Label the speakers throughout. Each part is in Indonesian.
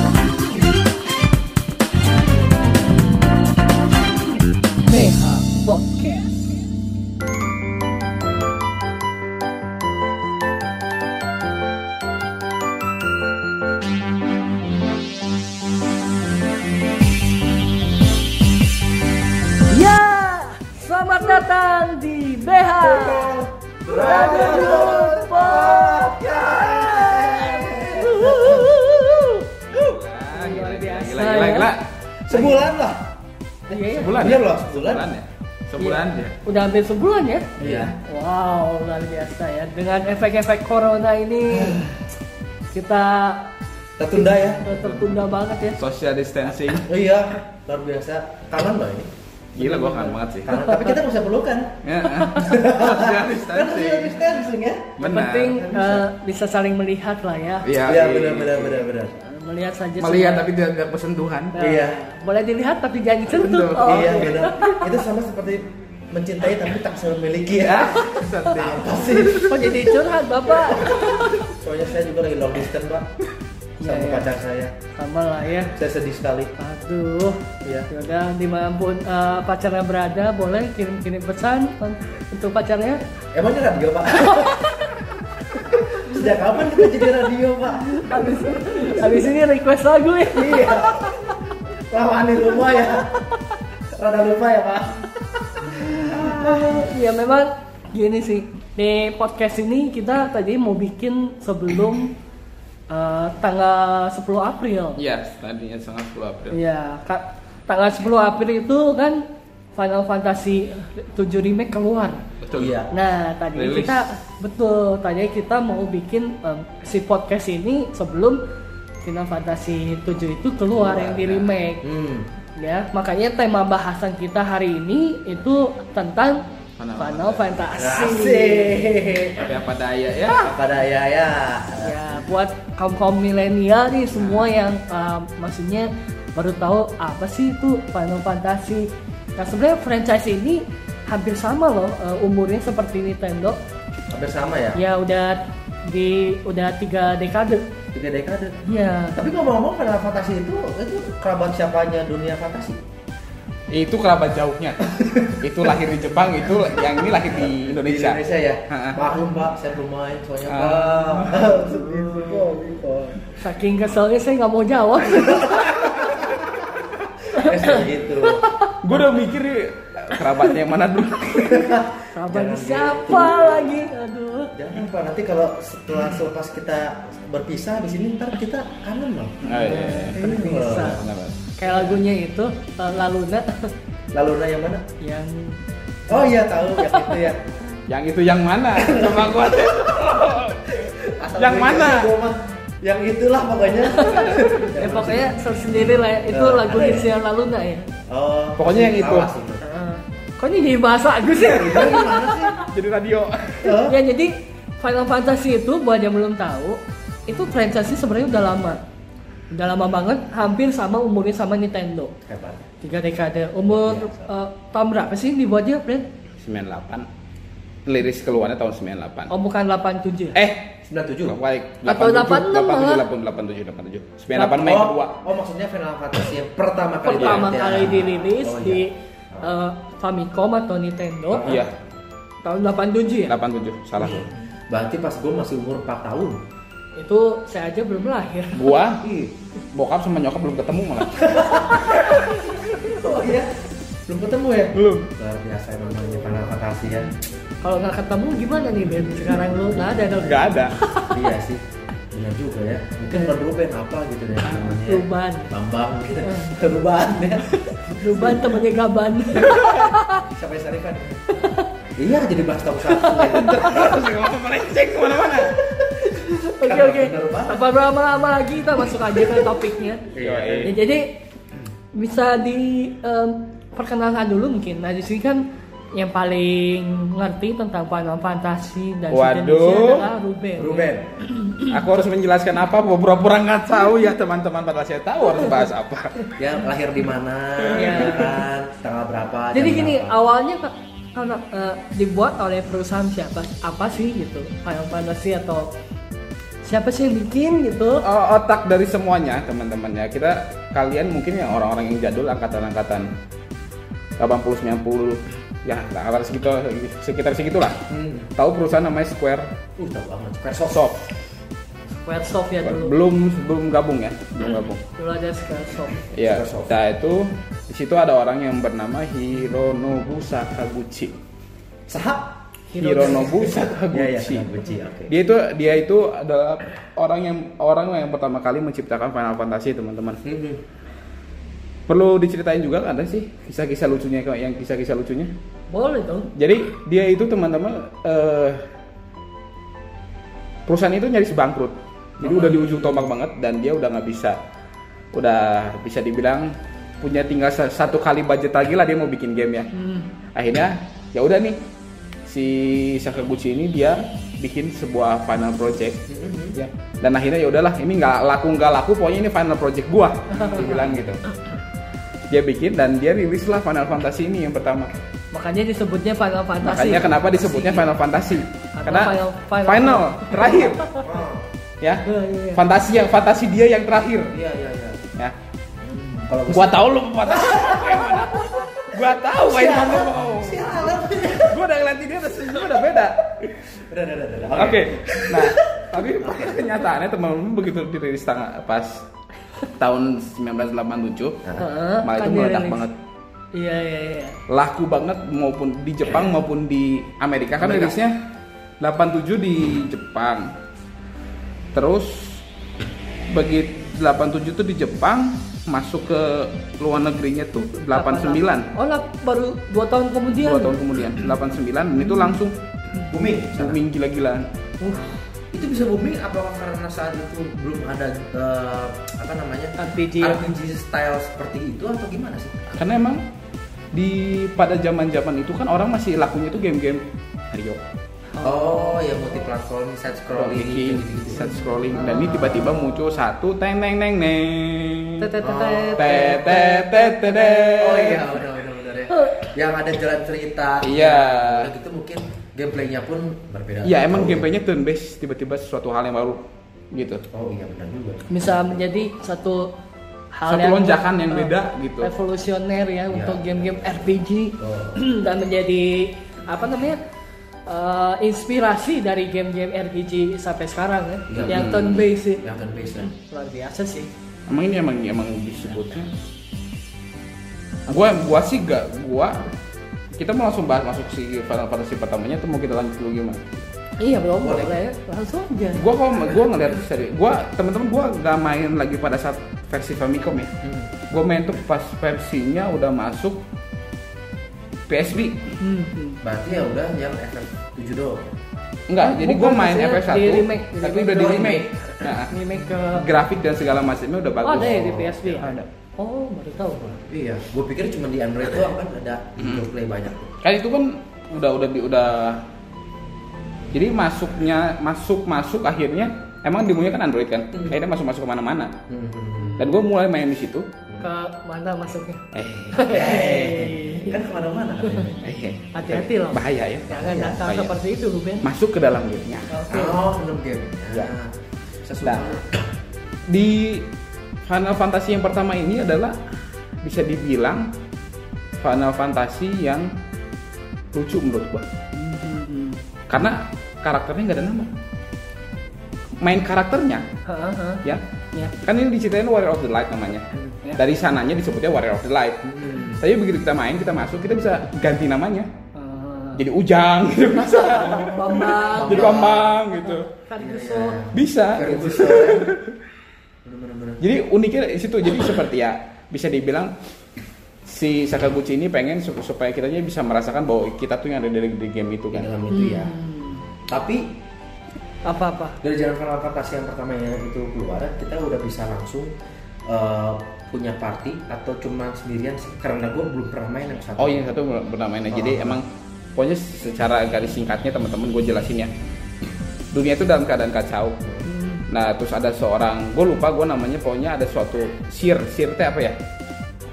Speaker 1: Ya,
Speaker 2: Lagi
Speaker 1: Nah,
Speaker 2: like
Speaker 1: iya.
Speaker 2: lah.
Speaker 3: Sebulan lah.
Speaker 1: Iya, iya.
Speaker 2: Sebulan.
Speaker 3: Iya,
Speaker 2: ya?
Speaker 3: belum? Sebulan.
Speaker 2: ya? Sebulan
Speaker 1: Iya.
Speaker 2: ya.
Speaker 1: Udah hampir sebulan ya?
Speaker 3: Iya.
Speaker 1: Wow, luar biasa ya. Dengan efek-efek corona ini kita
Speaker 3: Tertunda ya.
Speaker 1: tertunda banget ya.
Speaker 2: Social distancing.
Speaker 3: Oh iya, luar biasa. Kangen loh ini.
Speaker 2: Gila gua kangen banget sih.
Speaker 3: Kangen, tapi kita bisa pelukan.
Speaker 2: Ya, ah. Social
Speaker 3: Kan harus
Speaker 2: distancing.
Speaker 3: lebih langsung ya.
Speaker 1: Yang
Speaker 2: Benar.
Speaker 1: penting eh, bisa saling melihat lah ya.
Speaker 2: Iya,
Speaker 3: Iya,
Speaker 2: iya.
Speaker 3: benar benar benar benar.
Speaker 1: Eh, Melihat saja. sudah.
Speaker 2: Melihat tapi tidak tidak bersentuhan.
Speaker 1: Nah,
Speaker 3: Iya.
Speaker 1: Boleh dilihat tapi jangan disentuh.
Speaker 2: Sentuh.
Speaker 1: Oh,
Speaker 3: Iya,
Speaker 1: oke.
Speaker 3: benar. Itu sama seperti mencintai tapi tak bisa memiliki
Speaker 2: Iya.
Speaker 3: ya.
Speaker 2: Sedih.
Speaker 3: Apa sih?
Speaker 1: Kok jadi Oh, curhat bapak?
Speaker 3: Soalnya saya juga lagi long distance, Pak.
Speaker 1: Iya,
Speaker 3: Sama
Speaker 1: iya.
Speaker 3: pacar saya.
Speaker 1: Sama lah ya.
Speaker 3: Saya sedih sekali.
Speaker 1: Aduh,
Speaker 3: Iya.
Speaker 1: yaudah dimanapun eh, pacarnya berada boleh kirim-kirim pesan un- untuk pacarnya.
Speaker 3: Emangnya radio, Pak? Sejak kapan kita jadi radio, Pak?
Speaker 1: Habis, habis ini request lagu ya.
Speaker 3: Iya. Lawanin lupa ya. Rada lupa ya, Pak.
Speaker 1: ya memang gini sih di podcast ini kita tadi mau bikin sebelum eh, tanggal 10 April.
Speaker 2: Iya, tadinya sangat 10 April.
Speaker 1: Iya, ka- tanggal 10 April itu kan Final Fantasy 7 remake keluar.
Speaker 2: Betul.
Speaker 3: Iya.
Speaker 1: Nah, tadi
Speaker 2: Rilis.
Speaker 1: kita betul, tadi kita mau bikin em, si podcast ini sebelum Final Fantasy 7 itu keluar
Speaker 2: Keluar,
Speaker 1: yang di
Speaker 2: nah.
Speaker 1: remake.
Speaker 3: Hmm.
Speaker 1: Ya, makanya tema bahasan kita hari ini itu tentang
Speaker 2: Final
Speaker 1: Final Fantasy.
Speaker 3: Asik.
Speaker 2: Tapi apa daya ya?
Speaker 3: Pada ya ya.
Speaker 1: Ya, buat kaum kaum milenial nih semua yang um, maksudnya baru tahu apa sih itu Final Fantasy. Nah sebenarnya franchise ini hampir sama loh uh, umurnya seperti Nintendo.
Speaker 3: Hampir sama ya.
Speaker 1: Ya udah di udah tiga dekade.
Speaker 3: Tiga dekade.
Speaker 1: Ya,
Speaker 3: Tapi ngomong-ngomong Final Fantasy itu itu kerabat siapanya dunia fantasi?
Speaker 2: Itu kerabat jauhnya. itu lahir di Jepang, itu yang ini lahir di Indonesia.
Speaker 3: Di Indonesia ya.
Speaker 2: Ha-ha.
Speaker 3: Maklum Pak, saya belum main soalnya
Speaker 2: Ah.
Speaker 3: Pak. Gitu, Segitu, Pak.
Speaker 1: saking keselnya saya nggak mau jawab.
Speaker 3: Eh,
Speaker 2: gitu.
Speaker 3: Segitu.
Speaker 2: Gue udah mikir eh, kerabatnya yang mana dulu.
Speaker 1: Sabar
Speaker 3: Jangan
Speaker 1: siapa lagi? Aduh.
Speaker 3: Jangan Pak, nanti kalau setelah selepas kita berpisah di sini ntar kita kangen loh.
Speaker 2: Oh, iya.
Speaker 3: Ini,
Speaker 1: Berpisah.
Speaker 3: loh.
Speaker 2: Kenapa?
Speaker 1: Kayak lagunya itu uh, Laluna
Speaker 3: Lalu nah yang mana?
Speaker 1: yang
Speaker 3: Oh iya tahu yang itu ya.
Speaker 2: Yang itu yang mana? Sama gua tuh.
Speaker 3: Asal
Speaker 2: Yang
Speaker 3: gue ingat
Speaker 2: mana?
Speaker 3: gue mah. Yang itulah pokoknya.
Speaker 1: eh, pokoknya sendiri lah ya. itu
Speaker 3: Eh,
Speaker 1: lagu
Speaker 3: ada ya?
Speaker 1: hitsnya Laluna ya.
Speaker 3: Oh,
Speaker 2: Pokoknya yang itu.
Speaker 3: awas ini.
Speaker 1: Ah, Kok ini jadi bahasa aku sih?
Speaker 3: Itu gimana sih?
Speaker 2: Jadi radio.
Speaker 3: Oh,
Speaker 1: ya jadi Final Fantasy itu buat yang belum tahu itu franchise sebenarnya udah lama udah lama banget hampir sama umurnya sama Nintendo
Speaker 3: Hebat.
Speaker 1: tiga dekade umur
Speaker 3: Iya.
Speaker 1: eh, tahun berapa sih dibuatnya Fred?
Speaker 2: 98. Liris keluarnya tahun 98.
Speaker 1: oh bukan 87 ya?
Speaker 2: Eh,
Speaker 3: 97
Speaker 2: Nggak baik.
Speaker 1: Atau 86
Speaker 2: 87,
Speaker 1: malah.
Speaker 2: 87, 87, 87. 98 Mei kedua.
Speaker 3: Oh, oh maksudnya Final Fantasy yang pertama kali
Speaker 1: pertama
Speaker 3: dirilis.
Speaker 1: kali
Speaker 3: Ya.
Speaker 1: dirilis
Speaker 3: Oh,
Speaker 1: di
Speaker 3: iya.
Speaker 1: eh, Famicom atau Nintendo
Speaker 2: Iya,
Speaker 1: tahun 87 ya
Speaker 2: 87 salah.
Speaker 3: Berarti pas gue masih umur 4 tahun.
Speaker 1: itu saya aja belum lahir
Speaker 2: Gua bokap sama nyokap belum ketemu malah.
Speaker 3: Oh iya. Belum ketemu ya?
Speaker 2: Belum.
Speaker 3: Luar biasa emang namanya Final Fantasy ya.
Speaker 1: kalau nggak ketemu gimana nih Ben sekarang lu nggak ada dong
Speaker 2: Enggak ada.
Speaker 3: iya sih. Benar juga ya. Mungkin kalau dulu pengen apa gitu deh namanya.
Speaker 1: Ruban
Speaker 3: Bambang. Ruban ya.
Speaker 1: Ruban temennya Gaban
Speaker 3: Siapa yang sarikan? iya jadi bahas tahu satu. ya.
Speaker 2: Terus ngomong melenceng kemana mana
Speaker 1: Oke
Speaker 3: Karena
Speaker 1: oke.
Speaker 3: bener banget.
Speaker 1: Apa berapa lama lagi kita masuk aja ke topiknya.
Speaker 2: Iya,
Speaker 1: Ya, jadi bisa di em, perkenalkan dulu mungkin. Nah di sini kan yang paling ngerti tentang Final Fantasy dan
Speaker 2: Waduh.
Speaker 1: sejenisnya adalah Ruben.
Speaker 3: Ruben.
Speaker 2: Aku harus menjelaskan apa? Gua Pura-pura nggak tahu ya teman-teman pada saya tahu harus bahas apa.
Speaker 3: Ya lahir di mana?
Speaker 1: Iya.
Speaker 3: ya Kan tanggal berapa?
Speaker 1: Jadi
Speaker 3: jam
Speaker 1: gini
Speaker 3: berapa.
Speaker 1: awalnya Pak, karena eh, dibuat oleh perusahaan siapa? Apa sih gitu Final Fantasy atau siapa sih yang bikin gitu?
Speaker 2: Eh, Otak dari semuanya teman-teman ya. Kita kalian mungkin yang orang-orang yang jadul angkatan-angkatan 80 90 ya sekitar segitu sekitar segitulah.
Speaker 3: Hmm.
Speaker 2: Tahu perusahaan namanya Square
Speaker 3: Uh, tahu banget. Square Soft.
Speaker 2: Soft.
Speaker 1: Squaresoft ya dulu.
Speaker 2: Belum belum gabung ya, belum gabung.
Speaker 1: Dulu ada Squaresoft.
Speaker 2: Ya,
Speaker 3: Microsoft.
Speaker 2: nah itu di situ ada orang yang bernama Hironobu Sakaguchi.
Speaker 3: Sahab.
Speaker 2: Hironobu
Speaker 3: Iya, iya,
Speaker 2: Sakaguchi.
Speaker 3: sangat benci, oke.
Speaker 2: Dia itu dia itu adalah orang yang orang yang pertama kali menciptakan Final Fantasy, teman-teman.
Speaker 3: Hmm.
Speaker 2: Perlu diceritain juga nggak ada sih kisah-kisah lucunya kayak yang kisah-kisah lucunya.
Speaker 1: boleh dong
Speaker 2: Jadi dia itu teman-teman eh, perusahaan itu nyaris bangkrut. Jadi udah di ujung tombak banget dan dia udah nggak bisa, udah bisa dibilang punya tinggal sa- satu kali budget lagi lah dia mau bikin game ya. Akhirnya ya udah nih si Sakaguchi ini dia bikin sebuah final project. Ya. Dan akhirnya ya udahlah ini nggak laku nggak laku pokoknya ini final project gua dibilang gitu. Dia bikin dan dia rilis lah Final Fantasy ini yang pertama.
Speaker 1: makanya disebutnya Final Fantasy
Speaker 2: Makanya kenapa disebutnya Final Fantasy?
Speaker 1: Karena
Speaker 2: Karena final,
Speaker 1: final- final.
Speaker 2: terakhir,
Speaker 3: Oh,
Speaker 2: ya.
Speaker 1: Iya, iya.
Speaker 2: Fantasi yang fantasi dia yang terakhir,
Speaker 3: iya iya iya.
Speaker 2: ya.
Speaker 3: Kalau gua
Speaker 2: Gua tahu lu fantasi. gimana. Gua tahu main lu mau.
Speaker 3: sialan.
Speaker 2: Gua udah ngeliatin dia udah gua udah beda.
Speaker 3: Udah, udah, udah, udah.
Speaker 2: Oke. Nah, tapi kenyataannya teman-teman begitu dirilis tanggal pas tahun 1987,
Speaker 1: Heeh,
Speaker 2: malah itu
Speaker 1: kan
Speaker 2: meledak
Speaker 1: dirilis.
Speaker 2: banget.
Speaker 1: iya iya iya
Speaker 2: laku banget maupun di Jepang maupun di Amerika kan
Speaker 3: Iya. Amerika.
Speaker 2: rilisnya 87 di Jepang terus bagi 87 tuh di Jepang masuk ke luar negerinya tuh 89
Speaker 1: oh lah baru dua tahun kemudian
Speaker 2: dua tahun kemudian 89 dan itu langsung
Speaker 3: Booming.
Speaker 2: booming gila-gilaan
Speaker 1: Uh,
Speaker 3: Itu bisa booming apa karena saat itu belum ada eh, apa namanya?
Speaker 1: RPG.
Speaker 2: Iya. Ah.
Speaker 3: RPG style seperti itu atau gimana sih?
Speaker 2: karena emang di pada zaman-zaman itu kan orang masih lakunya tuh game-game Mario,
Speaker 3: Oh, ya multi platform, side scrolling, gitu.
Speaker 2: scrolling,
Speaker 3: gitu-gitu.
Speaker 2: side scrolling, dan ini tiba-tiba muncul satu teng neng neng neng.
Speaker 1: tetetetet.
Speaker 3: Oh
Speaker 2: Tetetetetet.
Speaker 3: iya, udah, udah, udah deh. Yang ada jalan cerita.
Speaker 2: Iya.
Speaker 3: Udah gitu mungkin gameplaynya pun berbeda.
Speaker 2: Ya emang gameplaynya turn based tiba-tiba sesuatu hal yang baru gitu.
Speaker 3: Oh iya benar juga.
Speaker 1: bisa menjadi satu hal
Speaker 2: Satu
Speaker 1: yang
Speaker 2: lonjakan yang
Speaker 1: eh,
Speaker 2: beda gitu. Iya.
Speaker 1: revolusioner ya untuk game-game RPG
Speaker 3: Oh.
Speaker 1: dan menjadi apa namanya eh, inspirasi dari game-game RPG sampai sekarang ya
Speaker 3: Iya.
Speaker 1: yang turn based sih
Speaker 3: Yang kan base kan.
Speaker 1: luar biasa sih
Speaker 2: Emang ini emang emang disebutnya. Gua gua sih gak gua kita mau langsung bahas masuk si Final Fantasy pertamanya atau mau kita lanjut dulu gimana?
Speaker 1: iya belum
Speaker 3: Boleh.
Speaker 1: boleh langsung aja
Speaker 2: Gua kok gua ngeliat seri, gua teman-teman gua gak main lagi pada saat versi Famicom ya. Gua main tuh pas versinya udah masuk PSB.
Speaker 1: Hmm, hmm.
Speaker 3: Berarti ya udah yang FF7 doang.
Speaker 2: Enggak,
Speaker 1: Oh,
Speaker 2: jadi
Speaker 1: bukan,
Speaker 2: gua main
Speaker 1: maksudnya
Speaker 2: FF1
Speaker 1: di remake, di
Speaker 2: tapi
Speaker 1: remake
Speaker 2: udah di
Speaker 1: doang.
Speaker 2: remake. Nah,
Speaker 1: remake ke
Speaker 2: grafik dan segala macamnya udah
Speaker 1: oh
Speaker 2: bagus.
Speaker 1: ada ya di PSP ya?
Speaker 2: Ada.
Speaker 1: oh baru tahu
Speaker 3: Iya, gue pikir cuma di Android doang kan ada gameplay banyak.
Speaker 2: Kan itu kan udah udah di- udah jadi masuknya masuk masuk akhirnya emang demonya kan Android kan
Speaker 1: Hmm.
Speaker 2: akhirnya masuk masuk kemana-mana dan gue mulai main di situ
Speaker 1: ke mana masuknya
Speaker 2: eh
Speaker 3: Hey, kan kemana-mana kan ini.
Speaker 2: eh,
Speaker 1: Hati-hati loh.
Speaker 2: bahaya ya
Speaker 1: jangan
Speaker 3: Iya,
Speaker 1: datang
Speaker 3: iya.
Speaker 1: seperti itu Ruben
Speaker 2: masuk ke dalam gamenya
Speaker 1: oke
Speaker 3: Oh, belum game. Nah,
Speaker 2: Iya. Nah.
Speaker 3: Sesudah.
Speaker 2: di Final Fantasy yang pertama ini adalah bisa dibilang Final Fantasy yang lucu menurut gua karena karakternya nggak ada nama main karakternya
Speaker 1: Heeh, heeh.
Speaker 2: ya
Speaker 1: ya
Speaker 2: kan ini diceritain Warrior of the Light namanya
Speaker 1: Ya.
Speaker 2: dari sananya disebutnya Warrior of the Light
Speaker 3: Hmm.
Speaker 2: tapi begitu kita main kita masuk kita bisa ganti namanya
Speaker 1: Eh,
Speaker 2: jadi Ujang gitu bisa
Speaker 1: Bambang
Speaker 2: jadi Bambang gitu
Speaker 1: Ferguson
Speaker 2: bisa gitu.
Speaker 3: Ferguson. Bener-bener.
Speaker 2: jadi uniknya di situ jadi seperti ya bisa dibilang si Sakaguchi ini pengen sup- supaya kitanya bisa merasakan bahwa kita tuh yang ada dari, dari game itu
Speaker 3: Di
Speaker 2: kan
Speaker 3: dalam itu ya.
Speaker 1: Hmm.
Speaker 3: Tapi
Speaker 1: apa apa
Speaker 3: dari jalan Final Fantasy yang pertama yang itu keluar kita udah bisa langsung eh, punya party atau cuma sendirian sih? karena gue belum pernah main yang satu
Speaker 2: Oh yang satu bernamanya. Jadi
Speaker 3: Oh.
Speaker 2: emang pokoknya secara garis singkatnya teman-teman gue jelasin ya. Dunia itu dalam keadaan kacau. Nah terus ada seorang gue lupa gue namanya pokoknya ada suatu sir sir teh apa ya?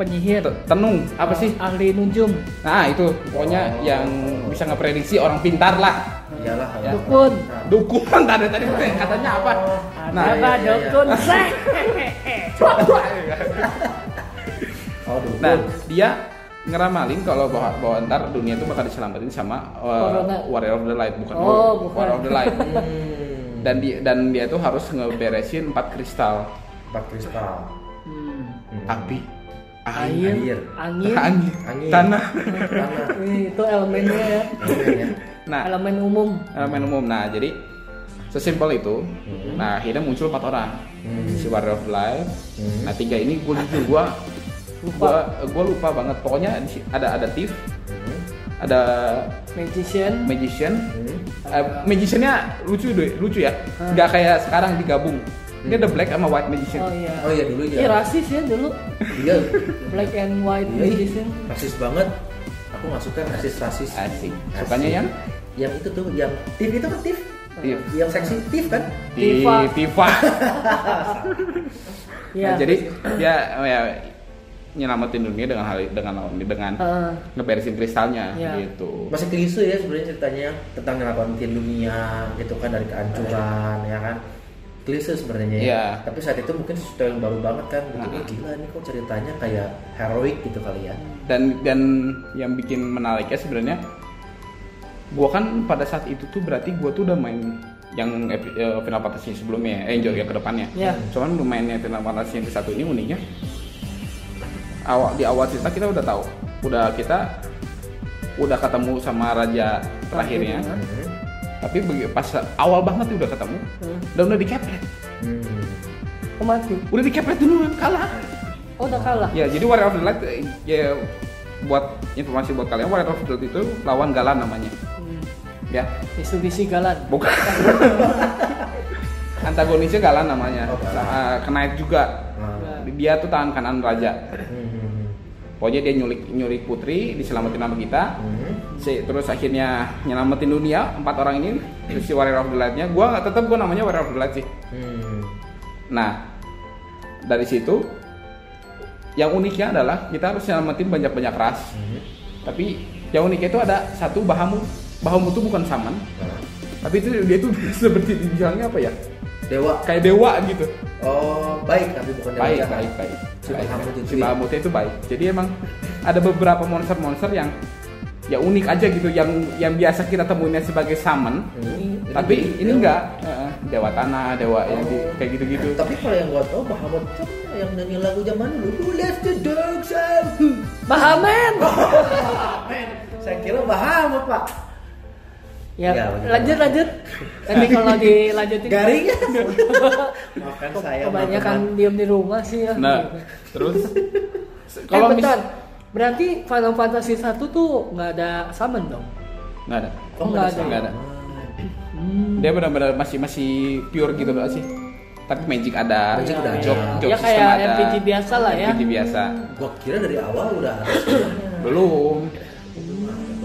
Speaker 1: penyihir
Speaker 2: Te- Tenung apa sih?
Speaker 1: ahli nunjum
Speaker 2: Nah itu
Speaker 3: Oh.
Speaker 2: pokoknya yang bisa ngeprediksi orang pintar lah.
Speaker 3: iyalah
Speaker 2: Ya.
Speaker 1: Dukun. Oh,
Speaker 2: Dukungan tadi tadi teh, katanya apa?
Speaker 1: ada
Speaker 2: Nah
Speaker 3: iya,
Speaker 1: apa
Speaker 3: iya,
Speaker 1: dokun Sek.
Speaker 3: oh dukun
Speaker 2: nah dia ngeramalin kalau bahwa, bahwa ntar dunia itu bakal diselamatin sama uh,
Speaker 1: Corona.
Speaker 2: Warrior of the Light bukan,
Speaker 1: Oh,
Speaker 2: War-
Speaker 1: bukan.
Speaker 2: Warrior of the Light.
Speaker 3: Hmm.
Speaker 2: dan dia dan dia tuh harus ngeberesin empat kristal
Speaker 3: Bak kristal
Speaker 1: Hmm.
Speaker 3: Hmm.
Speaker 2: api
Speaker 1: air
Speaker 3: air.
Speaker 1: angin
Speaker 2: angin,
Speaker 3: Angin.
Speaker 2: tanah
Speaker 3: Tanah.
Speaker 1: Wih, itu elemennya ya
Speaker 3: Angin ya.
Speaker 2: nah
Speaker 1: elemen umum
Speaker 2: elemen umum nah jadi sesimpel itu nah akhirnya muncul empat orang
Speaker 3: Hmm.
Speaker 2: si warrior of life
Speaker 3: Hmm.
Speaker 2: nah tiga ini gue jujur gue
Speaker 1: lupa
Speaker 2: gua gua lupa banget pokoknya di si- ada ada thief ada
Speaker 1: magician
Speaker 2: magician
Speaker 3: Hmm.
Speaker 2: Eh, magiciannya lucu deh lucu ya nggak kayak sekarang digabung ini ada black sama white magician
Speaker 1: oh iya
Speaker 3: Oh iya dulu
Speaker 1: Ih,
Speaker 3: ya.
Speaker 1: rasis ya dulu
Speaker 3: Iya.
Speaker 1: black and white
Speaker 3: Iya, ih,
Speaker 1: magician
Speaker 3: rasis banget. Aku nggak suka rasis rasis.
Speaker 2: asik sukanya yang
Speaker 3: Yang itu tuh, yang tif itu kan tif.
Speaker 2: Thief.
Speaker 3: Yang seksi tif kan.
Speaker 1: Tifa. Iya.
Speaker 2: Ti- Tifa.
Speaker 1: ya
Speaker 2: Nah, jadi dia oh ya, nyelamatin dunia dengan hal dengan dengan
Speaker 1: Heeh.
Speaker 2: ngeberesin kristalnya
Speaker 1: Iya.
Speaker 2: gitu.
Speaker 3: Masih klise ya sebenarnya ceritanya tentang nyelamatin dunia gitu kan dari kehancuran ya kan. Klise sebenarnya ya.
Speaker 2: Iya.
Speaker 3: Tapi saat itu mungkin sesuatu yang baru banget kan. Gitu.
Speaker 2: Nah.
Speaker 3: "Ih, gila nih kok ceritanya kayak heroik gitu kali ya.
Speaker 2: Dan dan yang bikin menariknya sebenarnya gua kan pada saat itu tuh berarti gua tuh udah main yang epi- eh, Final Fantasy sebelumnya, eh yang ke depannya.
Speaker 1: Iya.
Speaker 2: Cuman lumayan yang Final Fantasy yang ke satu ini uniknya awal di awal cerita kita udah tahu, udah kita udah ketemu sama raja terakhirnya.
Speaker 1: Terakhir,
Speaker 3: Hmm.
Speaker 2: Tapi bagi- pas awal banget tuh udah ketemu
Speaker 1: Hmm.
Speaker 2: dan udah dikepret.
Speaker 3: Hmm.
Speaker 1: oh mati
Speaker 2: udah dikepret duluan kalah
Speaker 1: oh udah kalah
Speaker 3: Iya.
Speaker 2: ya jadi Warrior of the Light eh, ya buat informasi buat kalian Warrior of the Light itu lawan Galan namanya
Speaker 1: hmm.
Speaker 2: ya
Speaker 1: Mitsubishi Galan
Speaker 2: bukan antagonisnya Galan namanya
Speaker 3: Oh, Galan.
Speaker 2: Nah, kenaik juga
Speaker 3: Ah.
Speaker 2: dia tuh tangan kanan raja
Speaker 3: Hmm.
Speaker 2: pokoknya dia nyulik nyulik putri diselamatin sama kita
Speaker 3: Hmm.
Speaker 2: Si- terus akhirnya nyelamatin dunia empat orang ini terus si Warrior of the Light-nya gua nggak tetap gua namanya Warrior of the Light sih
Speaker 3: Hmm.
Speaker 2: Nah, dari situ yang uniknya adalah kita harus nyelamatin banyak-banyak ras.
Speaker 3: Hmm.
Speaker 2: Tapi yang uniknya itu ada satu Bahamut. Bahamut itu bukan saman,
Speaker 3: Ah.
Speaker 2: tapi itu dia itu seperti dibilangnya apa ya?
Speaker 3: Dewa.
Speaker 2: Kayak dewa gitu.
Speaker 3: Oh, baik tapi bukan dewa
Speaker 2: Baik,
Speaker 3: jahat.
Speaker 2: baik, baik.
Speaker 3: Si
Speaker 2: Baik.
Speaker 3: Bahamut itu
Speaker 2: Si
Speaker 3: ya?
Speaker 2: Bahamutnya itu baik. Jadi emang ada beberapa monster-monster yang ya unik aja gitu yang yang biasa kita temuinnya sebagai saman.
Speaker 3: Hmm.
Speaker 2: Tapi
Speaker 3: Jadi
Speaker 2: ini
Speaker 3: dewa.
Speaker 2: enggak eh, dewa tanah, dewa yang di-
Speaker 3: Oh.
Speaker 2: kayak gitu-gitu.
Speaker 3: Tapi kalau yang gua tau Bahamut kan yang nyanyi lagu zaman dulu Who left the dogs out? Who?
Speaker 1: Bahamen
Speaker 3: Amen. Saya kira Bahamut, Pak.
Speaker 1: ya,
Speaker 3: Ya, bener.
Speaker 1: lanjut lanut lanjut nanti kalau dilanjutin
Speaker 3: Garing. Makan saya
Speaker 1: kebanyakan
Speaker 3: teman.
Speaker 1: diem di rumah sih ya
Speaker 2: Nah, terus
Speaker 1: kalau
Speaker 3: Eh,
Speaker 2: kalau mis-
Speaker 1: bentar berarti Final Fantasy 1 tuh nggak ada summon dong
Speaker 2: nggak ada.
Speaker 3: Oh, nggak ada.
Speaker 2: Nggak ada. Dia benar-benar masih masih pure gitu doang sih. Tapi magic ada.
Speaker 3: Magic udah ada.
Speaker 2: joke, joke
Speaker 1: Ya,
Speaker 2: system
Speaker 1: kayak
Speaker 2: ada.
Speaker 1: RPG biasa lah ya.
Speaker 2: RPG biasa.
Speaker 3: Gua kira dari awal udah ada.
Speaker 2: Belum.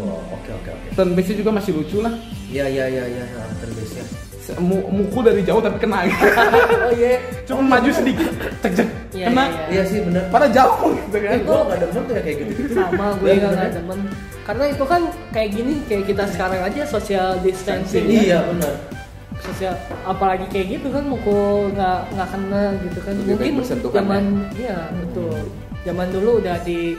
Speaker 3: Oh, Oke, oke, oke.
Speaker 2: Turn base juga masih lucu lah.
Speaker 3: Iya, iya, iya, iya, nah, terus ya.
Speaker 2: Se- mu- Mukul dari jauh tapi kena. gitu.
Speaker 1: oh iya
Speaker 2: Cuma maju sedikit, cek cek.
Speaker 1: Iya,
Speaker 2: kena.
Speaker 1: iya,
Speaker 3: Iya sih benar.
Speaker 2: Pada jauh gitu kan.
Speaker 3: Eh, gua nggak demen tuh yang kayak gitu.
Speaker 1: sama gue
Speaker 3: Iya,
Speaker 1: nggak nggak
Speaker 3: bener.
Speaker 1: demen karena itu kan kayak gini kayak kita sekarang aja social distancing kan?
Speaker 3: Iya, benar.
Speaker 1: sosial apalagi kayak gitu kan mukul nggak nggak kena gitu kan
Speaker 2: Lebih baik
Speaker 1: mungkin
Speaker 3: ya?
Speaker 2: bersentuhan,
Speaker 1: zaman iya betul zaman dulu udah di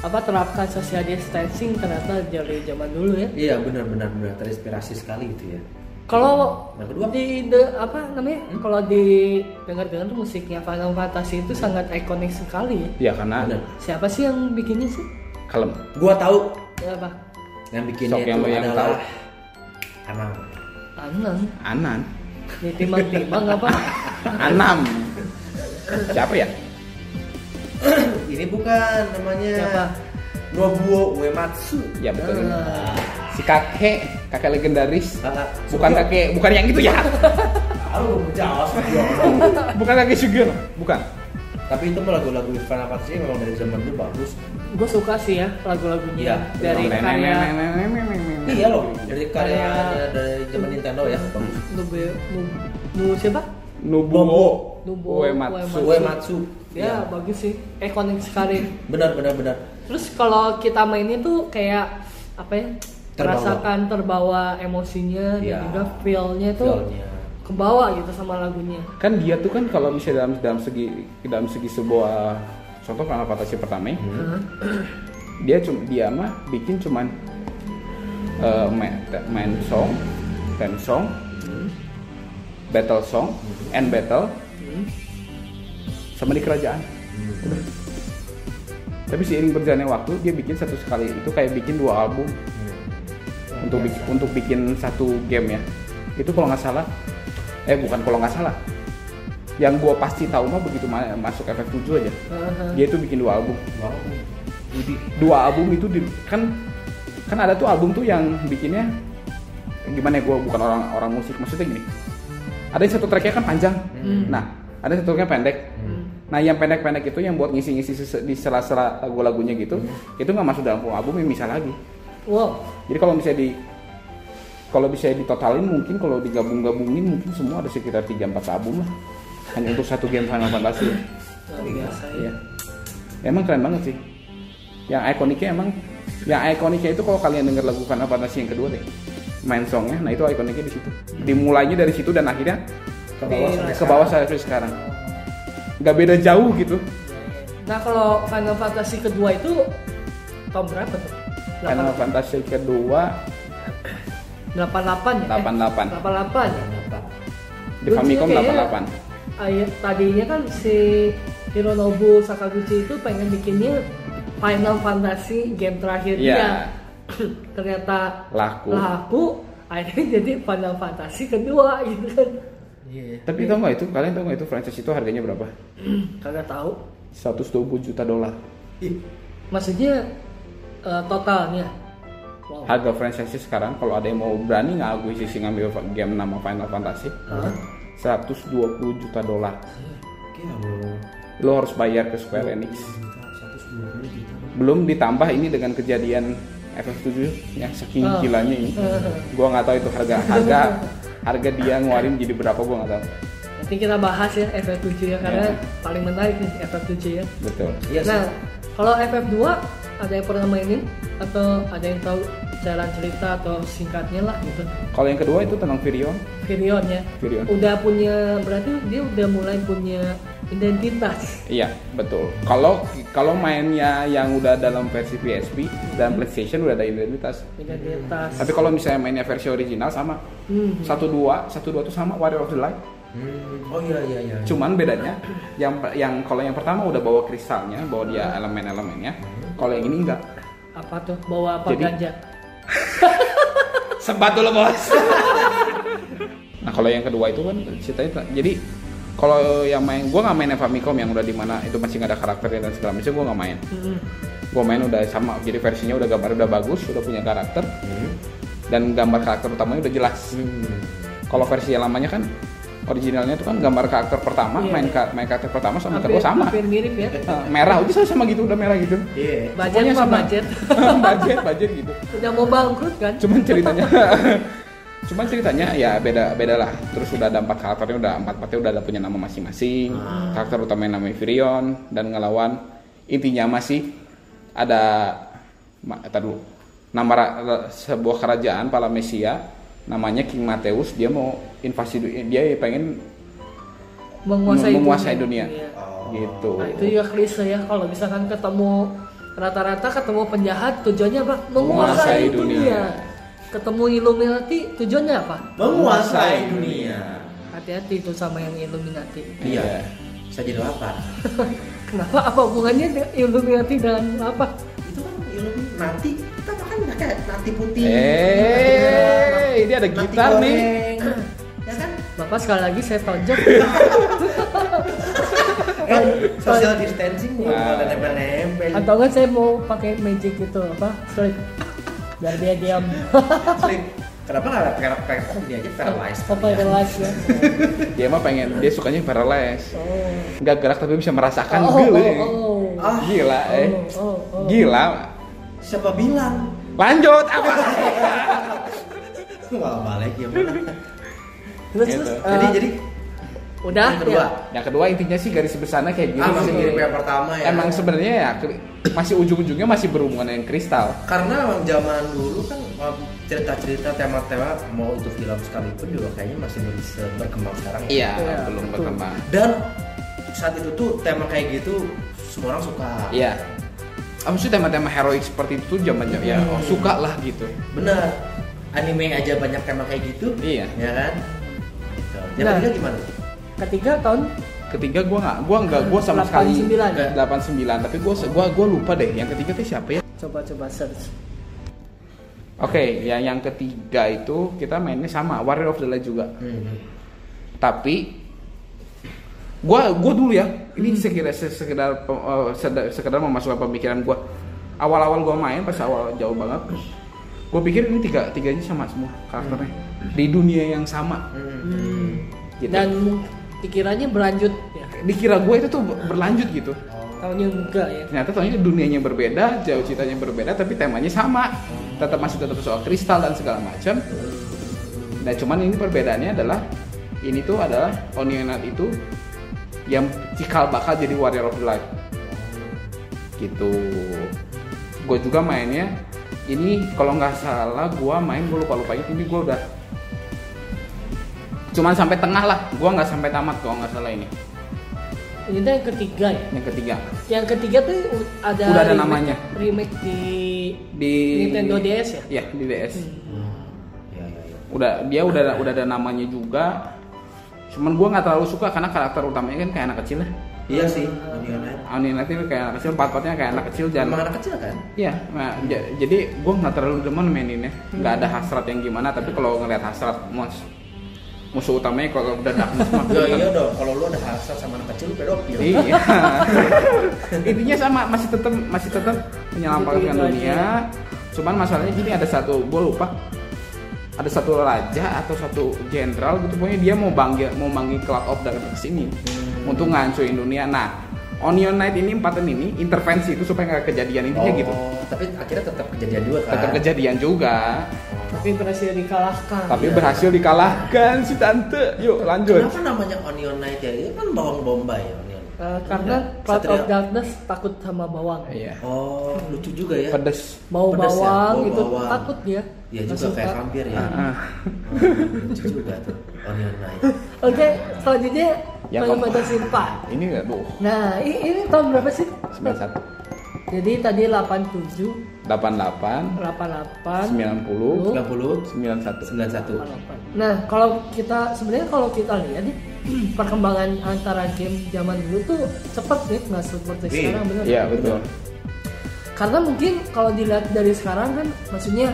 Speaker 1: apa terapkan social distancing ternyata dari zaman dulu ya
Speaker 3: Iya, benar, benar, benar. Terinspirasi sekali itu ya.
Speaker 1: kalau
Speaker 3: Yang kedua? Hmm?
Speaker 1: di the- apa namanya kalau di dengar dengar musiknya Final Fantasy itu sangat ikonik sekali ya
Speaker 2: Ya karena
Speaker 3: Bener.
Speaker 1: siapa sih yang bikinnya sih Ya,
Speaker 2: kalem.
Speaker 3: Gua tahu
Speaker 1: apa
Speaker 3: yang bikinnya
Speaker 2: Sok yang
Speaker 3: itu
Speaker 2: lo yang
Speaker 3: adalah
Speaker 2: tahu.
Speaker 3: Anang.
Speaker 1: Anang
Speaker 2: Anan.
Speaker 1: di timang timang apa
Speaker 2: Anam. Siapa ya?
Speaker 3: Ini bukan namanya
Speaker 1: Siapa?
Speaker 3: Nobuo Uematsu.
Speaker 2: Ya betul.
Speaker 1: Ah.
Speaker 2: Si kakek, kakek legendaris.
Speaker 3: Kakak.
Speaker 2: Bukan
Speaker 3: Sugio.
Speaker 2: kakek, bukan yang itu ya.
Speaker 3: Tahu jawas Sugio.
Speaker 2: bukan kakek Sugiro, bukan.
Speaker 3: Tapi itu mah lagu-lagu Final Fantasy memang dari zaman dulu bagus.
Speaker 1: gue suka sih ya lagu-lagunya
Speaker 3: Iya,
Speaker 1: dari karya
Speaker 3: Iya loh, dari karya
Speaker 1: Karya-
Speaker 3: dari zaman Nintendo ya. Bagus.
Speaker 1: Nube Nu- Nu siapa
Speaker 2: Nubuo
Speaker 1: Nubuo
Speaker 2: Uematsu.
Speaker 1: Uematsu.
Speaker 3: Uematsu.
Speaker 1: ya
Speaker 3: Iya.
Speaker 1: bagus sih ikonik sekali
Speaker 3: Benar benar benar.
Speaker 1: terus kalau kita mainin tuh kayak apa ya
Speaker 3: Terbawa.
Speaker 1: merasakan terbawa emosinya dan
Speaker 3: Iya.
Speaker 1: juga Ya. feelnya tuh
Speaker 3: Feel-nya.
Speaker 1: kebawa gitu sama lagunya
Speaker 2: Kan dia tuh kan kalau misalnya dalam dalam segi dalam segi sebuah contoh Final Fantasy pertama ya,
Speaker 1: Heeh.
Speaker 2: dia cuma dia mah bikin cuman eh, main, main song, theme song, battle song, end battle sama di kerajaan. Udah. Tapi seiring berjalannya waktu dia bikin satu sekali itu kayak bikin dua album untuk bikin, untuk bikin satu game ya itu kalau nggak salah eh bukan kalau nggak salah yang gua pasti tahu mah begitu ma- masuk FF7 aja dia itu bikin dua album
Speaker 3: Wow. Budi.
Speaker 2: dua album itu di, kan kan ada tuh album tuh yang bikinnya gimana ya gue bukan orang orang musik maksudnya gini ada yang satu tracknya kan panjang
Speaker 1: Hmm.
Speaker 2: nah ada yang satu tracknya pendek nah yang pendek-pendek itu yang buat ngisi-ngisi sese- di sela-sela lagu-lagunya gitu itu nggak masuk dalam album yang bisa lagi
Speaker 1: Wow,
Speaker 2: jadi kalau misalnya di kalau bisa ditotalin mungkin kalau digabung-gabungin mungkin semua ada sekitar 3-4 album lah hanya untuk satu game Final Fantasy
Speaker 1: luar biasa ya.
Speaker 2: Iya. Emang keren banget sih. Yang ikoniknya emang yang ikoniknya itu kalau kalian denger lagu Final Fantasy yang kedua deh. Main songnya, nah itu ikoniknya di situ. Dimulainya dari situ dan akhirnya
Speaker 3: Ke bawah sampai
Speaker 2: ke bawah sampai sekarang. Nggak beda jauh gitu.
Speaker 1: Nah kalau Final Fantasy kedua itu tahun berapa tuh?
Speaker 2: Final Fantasy kedua
Speaker 1: 88 ya?
Speaker 2: 88.
Speaker 1: 88 ya?
Speaker 3: Kenapa?
Speaker 2: di
Speaker 1: Lucunya
Speaker 2: Famicom
Speaker 1: kayaknya,
Speaker 2: 88.
Speaker 1: ay- tadinya kan si Hironobu Sakaguchi itu pengen bikinnya Final Fantasy game terakhirnya.
Speaker 2: Iya.
Speaker 1: Ternyata
Speaker 2: Laku.
Speaker 1: laku, akhirnya jadi Final Fantasy kedua gitu kan.
Speaker 3: Iya.
Speaker 2: Tapi tau nggak itu kalian tau nggak itu franchise itu harganya berapa?
Speaker 1: Kagak tahu.
Speaker 2: 120 juta dolar.
Speaker 3: Ih,
Speaker 1: Maksudnya eh, totalnya. Wow.
Speaker 2: Harga franchise sekarang kalau ada yang mau berani nggak aku isi ngambil game nama Final Fantasy
Speaker 1: Hah?
Speaker 2: 120 juta dolar.
Speaker 3: gila loh.
Speaker 2: lo harus bayar ke Square Enix
Speaker 3: 120 juta.
Speaker 2: belum ditambah ini dengan kejadian FF7 yang saking
Speaker 1: Oh.
Speaker 2: gilanya ini gua nggak tahu itu harga harga harga dia ngeluarin jadi berapa gua nggak tahu
Speaker 1: Nanti kita bahas ya FF7 ya karena
Speaker 2: Iya.
Speaker 1: paling menarik nih FF7 ya.
Speaker 2: betul
Speaker 3: Iya sih.
Speaker 1: Nah, kalau FF2 ada yang pernah mainin atau ada yang tahu jalan cerita atau singkatnya lah gitu.
Speaker 2: kalau yang kedua itu tentang Virion
Speaker 1: Virion ya.
Speaker 2: Virion.
Speaker 1: Udah punya berarti dia udah mulai punya identitas.
Speaker 2: iya betul kalau kalau mainnya yang udah dalam versi PSP dan PlayStation udah ada identitas
Speaker 1: Identitas.
Speaker 2: tapi kalau misalnya mainnya versi original sama
Speaker 1: Hmm.
Speaker 2: satu dua satu dua tuh sama Warrior of the Light
Speaker 3: Hmm. Oh iya iya iya.
Speaker 2: cuman bedanya yang yang kalau yang pertama udah bawa kristalnya bawa dia elemen-elemennya kalau yang ini enggak
Speaker 1: Apa tuh? Bawa apa
Speaker 2: Jadi-
Speaker 1: ganja?
Speaker 2: Sebat dulu bos. nah kalau yang kedua itu kan ceritanya ta- jadi kalau yang main gue nggak main yang Famicom yang udah di mana itu masih nggak ada karakternya dan segala macam gue nggak main.
Speaker 1: Mm-mm.
Speaker 2: Gue main udah sama jadi versinya udah gambar udah bagus udah punya karakter dan gambar karakter utamanya udah jelas.
Speaker 3: Hmm.
Speaker 2: Kalau versi yang lamanya kan originalnya itu kan gambar karakter pertama
Speaker 1: Iya.
Speaker 2: main ka- main karakter pertama sama kedua sama.
Speaker 1: hampir mirip ya.
Speaker 2: Eh, merah udah sama gitu udah merah gitu.
Speaker 3: Iya.
Speaker 1: Budget
Speaker 2: Semuanya
Speaker 1: apa
Speaker 2: sama.
Speaker 1: budget?
Speaker 2: budget budget gitu.
Speaker 1: udah mau bangkrut kan?
Speaker 2: cuman ceritanya cuman ceritanya ya beda beda lah terus udah ada empat karakternya udah empat empatnya udah ada punya nama masing-masing
Speaker 1: Ah.
Speaker 2: karakter utamanya namanya Virion dan ngelawan intinya masih ada ma, tar dulu nama ra- ra- sebuah kerajaan Palamesia namanya King Mateus dia mau invasi du- dia pengen
Speaker 1: Menguasai,
Speaker 2: Menguasai dunia.
Speaker 1: Iya.
Speaker 2: gitu
Speaker 1: Nah, itu juga klise ya kalau misalkan ketemu rata-rata ketemu penjahat tujuannya apa? Menguasai
Speaker 2: Menguasai
Speaker 1: dunia.
Speaker 2: dunia.
Speaker 1: Ketemu Illuminati tujuannya apa?
Speaker 3: Menguasai dunia.
Speaker 1: Hati-hati itu sama yang Illuminati.
Speaker 3: Iya. Saya jadi lapar.
Speaker 1: Kenapa? Apa hubungannya de- Illuminati dan apa?
Speaker 3: Itu kan ilmu nanti kita makan pakai nanti putih.
Speaker 2: eh ini ada gitar nih
Speaker 3: Ya kan?
Speaker 1: Bapak sekali lagi saya tonjok.
Speaker 3: Kan social distancing bukan
Speaker 2: Nah.
Speaker 3: ada nempel-nempel.
Speaker 1: Atau enggak saya mau pakai magic gitu apa? Slip. Biar dia diam.
Speaker 3: Slip. Kenapa nggak ada pakai pakai oh, ini aja paralyzed?
Speaker 1: Oh, paralyzed ya.
Speaker 2: dia mah pengen dia sukanya paralyzed
Speaker 1: Oh.
Speaker 2: nggak gerak tapi bisa merasakan
Speaker 1: Oh,
Speaker 2: gila
Speaker 1: oh,
Speaker 2: eh.
Speaker 1: oh.
Speaker 3: Ah,
Speaker 2: gila eh
Speaker 1: Oh, oh, oh.
Speaker 2: gila
Speaker 3: siapa bilang?
Speaker 2: lanjut apa
Speaker 3: Nggak balik ya. Bang.
Speaker 1: Terus,
Speaker 2: Gitu.
Speaker 1: terus, eh,
Speaker 3: Jadi jadi
Speaker 1: udah
Speaker 3: yang kedua.
Speaker 1: ya?
Speaker 2: yang kedua intinya sih garis besarnya kayak gitu
Speaker 3: Ah, masih
Speaker 2: sih.
Speaker 3: mirip yang pertama ya.
Speaker 2: emang sebenarnya ya kri- masih ujung-ujungnya masih berhubungan dengan kristal
Speaker 3: karena emang zaman dulu kan um, cerita-cerita tema-tema mau itu film sekalipun juga kayaknya masih belum se- berkembang sekarang ya.
Speaker 2: iya
Speaker 1: Iya,
Speaker 2: belum
Speaker 1: betul.
Speaker 2: berkembang
Speaker 3: Dan saat itu tuh tema kayak gitu semua orang suka.
Speaker 2: iya Ah, maksudnya tema-tema heroik seperti itu tuh zaman ya
Speaker 1: Hmm.
Speaker 2: oh, suka lah gitu
Speaker 3: Benar. Anime aja banyak tema kayak gitu.
Speaker 2: Iya.
Speaker 3: Ya kan? Gitu. Yang
Speaker 1: Nah.
Speaker 3: ketiga gimana?
Speaker 1: Ketiga tahun
Speaker 2: ketiga gua nggak gua nggak gua sama sekali
Speaker 1: 89 ya?
Speaker 2: 89 tapi gua gua gua lupa deh yang ketiga tuh siapa ya
Speaker 1: coba-coba search.
Speaker 2: oke yang yang ketiga itu kita mainnya sama Warrior of the Light juga
Speaker 3: Hmm.
Speaker 2: tapi gua gua dulu ya ini sekedar se- sekedar pe- eh, seda- sekedar memasukkan pemikiran gua awal-awal gua main pas awal jauh banget gua pikir ini tiga tiganya sama semua karakternya di dunia yang sama
Speaker 3: Hmm.
Speaker 2: gitu.
Speaker 1: Dan pikirannya berlanjut ya.
Speaker 2: dikira gua itu tuh berlanjut gitu
Speaker 1: Tahunya enggak ya.
Speaker 2: ternyata ternyata dunianya berbeda jauh ceritanya berbeda tapi temanya sama tetap masih tetap soal kristal dan segala macam nah cuman ini perbedaannya adalah ini tuh adalah Onionat itu yang cikal bakal jadi Warrior of the Light gitu gue juga mainnya ini kalau nggak salah gue main gue lupa lupa ini gue udah cuman sampai tengah lah gue nggak sampai tamat kalau nggak salah ini
Speaker 1: Ini tuh yang ketiga ya.
Speaker 2: yang ketiga
Speaker 1: Yang ketiga tuh u- ada
Speaker 2: Udah ada
Speaker 1: remake-
Speaker 2: namanya.
Speaker 1: remake di
Speaker 2: di
Speaker 1: Nintendo DS ya?
Speaker 2: Iya di DS
Speaker 3: Ya, ya, ya.
Speaker 2: udah dia udah udah ada namanya juga cuman gua nggak terlalu suka karena karakter utamanya kan kayak anak kecil lah
Speaker 3: Iya sih, Onion Knight.
Speaker 2: Anil itu kayak anak kecil part partnya kayak anak kecil dan
Speaker 3: Emang anak kecil kan?
Speaker 2: Iya, nah, j- jadi gue nggak terlalu demen maininnya, nggak ada hasrat yang gimana. Tapi kalau ngelihat hasrat mus musuh utamanya kalau udah darkness mah
Speaker 3: Ya iya dong, kalau lu ada hasrat sama anak kecil lu pedofil.
Speaker 2: Iya. Intinya sama masih tetap masih tetap menyelamatkan
Speaker 1: Gitu-gitu aja.
Speaker 2: dunia. Cuman masalahnya gini ada satu gue lupa ada satu raja atau satu jenderal gitu pokoknya dia mau bangga mau manggil Cloud of Dark ke sini untuk ngancurin dunia. Nah, Onion Knight ini empatan ini intervensi itu supaya nggak kejadian intinya gitu.
Speaker 3: Oh. Tapi akhirnya tetap kejadian juga kan?
Speaker 2: Tetap kejadian juga,
Speaker 1: Tapi berhasil dikalahkan.
Speaker 2: tapi
Speaker 3: Iya.
Speaker 2: berhasil dikalahkan si tante. Yuk lanjut.
Speaker 3: Kenapa namanya Onion Knight ya? Itu kan bawang bombay ya Onion.
Speaker 1: Eh, karena Cloud
Speaker 3: Satria.
Speaker 1: of Darkness takut sama bawang.
Speaker 2: Iya.
Speaker 3: Oh, lucu juga ya.
Speaker 2: Pedes.
Speaker 1: Mau
Speaker 3: Pedes ya?
Speaker 1: bawang
Speaker 3: Bau
Speaker 1: gitu
Speaker 3: bawang.
Speaker 1: takut dia.
Speaker 3: Ya juga
Speaker 1: Langsung
Speaker 3: kayak
Speaker 1: tak-
Speaker 3: vampir ya.
Speaker 2: Ah.
Speaker 3: Hmm, lucu juga tuh Onion Knight.
Speaker 1: Oke, selanjutnya
Speaker 2: Ya,
Speaker 1: Final
Speaker 2: kamu-
Speaker 1: Fantasy 4.
Speaker 2: Ini nggak tuh.
Speaker 1: Nah, ini, ini tahun berapa sih?
Speaker 2: 91.
Speaker 1: Jadi tadi 87,
Speaker 2: 88
Speaker 1: 88,
Speaker 2: 90
Speaker 1: 88.
Speaker 3: 30 91.
Speaker 2: 91
Speaker 1: Nah, kalau kita sebenarnya kalau kita lihat nih perkembangan antara game zaman dulu tuh cepet nih nggak seperti
Speaker 3: Iya.
Speaker 1: sekarang bener.
Speaker 2: Iya betul
Speaker 1: Karena mungkin kalau dilihat dari sekarang kan maksudnya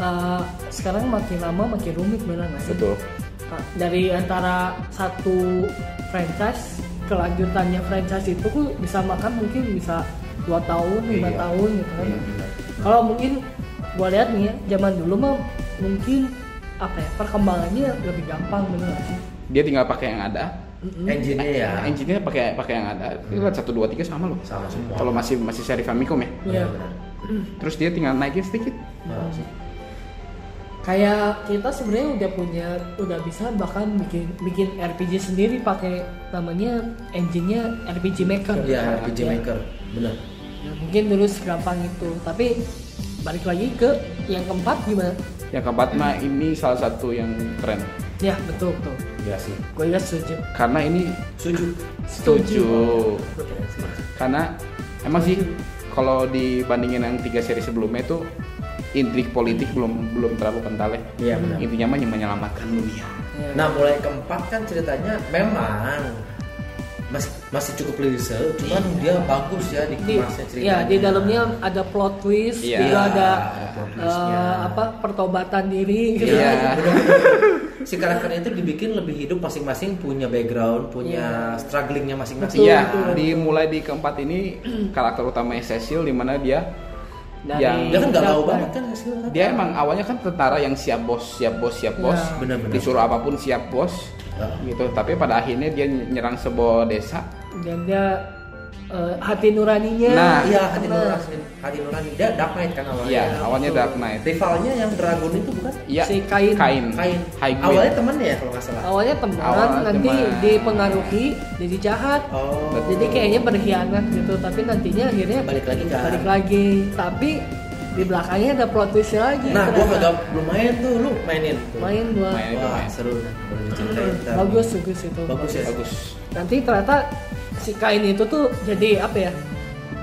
Speaker 1: eh, sekarang makin lama makin rumit bener nggak sih?
Speaker 2: betul
Speaker 1: Nah, Dari antara satu franchise kelanjutannya franchise itu tuh bisa makan mungkin bisa dua tahun, lima
Speaker 3: Iya.
Speaker 1: tahun gitu kan.
Speaker 3: Iya, benar.
Speaker 1: Kalau mungkin gua lihat nih ya, zaman dulu mah mungkin apa ya perkembangannya lebih gampang bener nggak sih?
Speaker 2: dia tinggal pakai yang ada
Speaker 3: Engine-nya ya
Speaker 2: engine-nya pakai pakai yang ada itu kan 1 2 3 sama loh
Speaker 3: sama semua.
Speaker 2: kalau masih masih seri Famicom ya
Speaker 1: Iya.
Speaker 3: benar.
Speaker 2: terus dia tinggal naikin sedikit
Speaker 3: Nah, sih.
Speaker 1: Kayak kita sebenarnya udah punya, udah bisa bahkan bikin bikin RPG sendiri pakai namanya engine-nya RPG Maker.
Speaker 3: Iya, RPG
Speaker 1: ya.
Speaker 3: Maker. Benar.
Speaker 1: Nah, mungkin dulu segampang itu, tapi balik lagi ke yang keempat gimana?
Speaker 2: yang keempat mah ini salah satu yang keren
Speaker 1: Ya betul betul,
Speaker 3: Iya sih.
Speaker 1: gue juga setuju.
Speaker 2: karena ini
Speaker 3: Setuju.
Speaker 2: setuju
Speaker 3: Betul.
Speaker 2: karena emang sih kalau dibandingin yang tiga seri sebelumnya itu intrik politik belum belum terlalu kental ya
Speaker 3: Iya, benar.
Speaker 2: intinya mah yang menyelamatkan dunia
Speaker 1: Ya.
Speaker 3: Nah mulai keempat kan ceritanya memang mas- masih cukup lise, cuman dia bagus ya di
Speaker 1: Iya. di,
Speaker 3: kemasnya ceritanya.
Speaker 1: ya di dalamnya ada plot twist,
Speaker 2: Iya.
Speaker 1: juga ada
Speaker 3: Ada plot
Speaker 1: eh,
Speaker 3: twistnya.
Speaker 1: apa pertobatan diri. gitu.
Speaker 2: Iya.
Speaker 3: Iya. si karakter itu dibikin lebih hidup masing-masing punya background, punya strugglingnya masing-masing.
Speaker 2: Iya,
Speaker 1: Iya. betul, betul.
Speaker 2: dimulai di keempat ini karakter utamanya Cecil di mana dia
Speaker 1: Dari-
Speaker 2: yang
Speaker 3: Dia kan nggak tahu
Speaker 1: Iya.
Speaker 3: banget kan hasilnya.
Speaker 2: dia emang awalnya kan tentara yang siap bos, siap bos, siap bos.
Speaker 1: Iya.
Speaker 3: Benar-benar.
Speaker 2: Disuruh apapun siap bos
Speaker 3: Iya.
Speaker 2: gitu. Tapi pada akhirnya dia nyerang sebuah desa.
Speaker 1: Dan dia eh, hati nuraninya.
Speaker 2: Nah.
Speaker 3: Iya, hati nurani, hati nurani. Dia Dark Knight kan awalnya.
Speaker 2: Iya, awalnya Dark Knight.
Speaker 3: Rivalnya yang dragon itu bukan
Speaker 2: Iya.
Speaker 1: Si Kain.
Speaker 2: Kain.
Speaker 3: kain.
Speaker 2: High Grade.
Speaker 3: Awalnya temannya ya kalau nggak salah.
Speaker 1: Awalnya teman,
Speaker 2: Awal
Speaker 1: nanti
Speaker 2: teman.
Speaker 1: dipengaruhi, jadi jahat.
Speaker 3: Oh.
Speaker 1: Jadi kayaknya berkhianat gitu, tapi nantinya akhirnya
Speaker 3: Balik lagi kan?
Speaker 1: Balik lagi, tapi di belakangnya ada plot twist lagi.
Speaker 3: Nah, gua
Speaker 1: ternyata.
Speaker 3: kagak lumayan tuh lu mainin. Tuh.
Speaker 1: main gua.
Speaker 2: Main. itu
Speaker 3: Wah, seru nih. Boleh diceritain. ntar.
Speaker 1: Bagus bagus itu.
Speaker 3: Bagus ya.
Speaker 2: Bagus.
Speaker 1: Nanti ternyata si kain itu tuh jadi apa ya?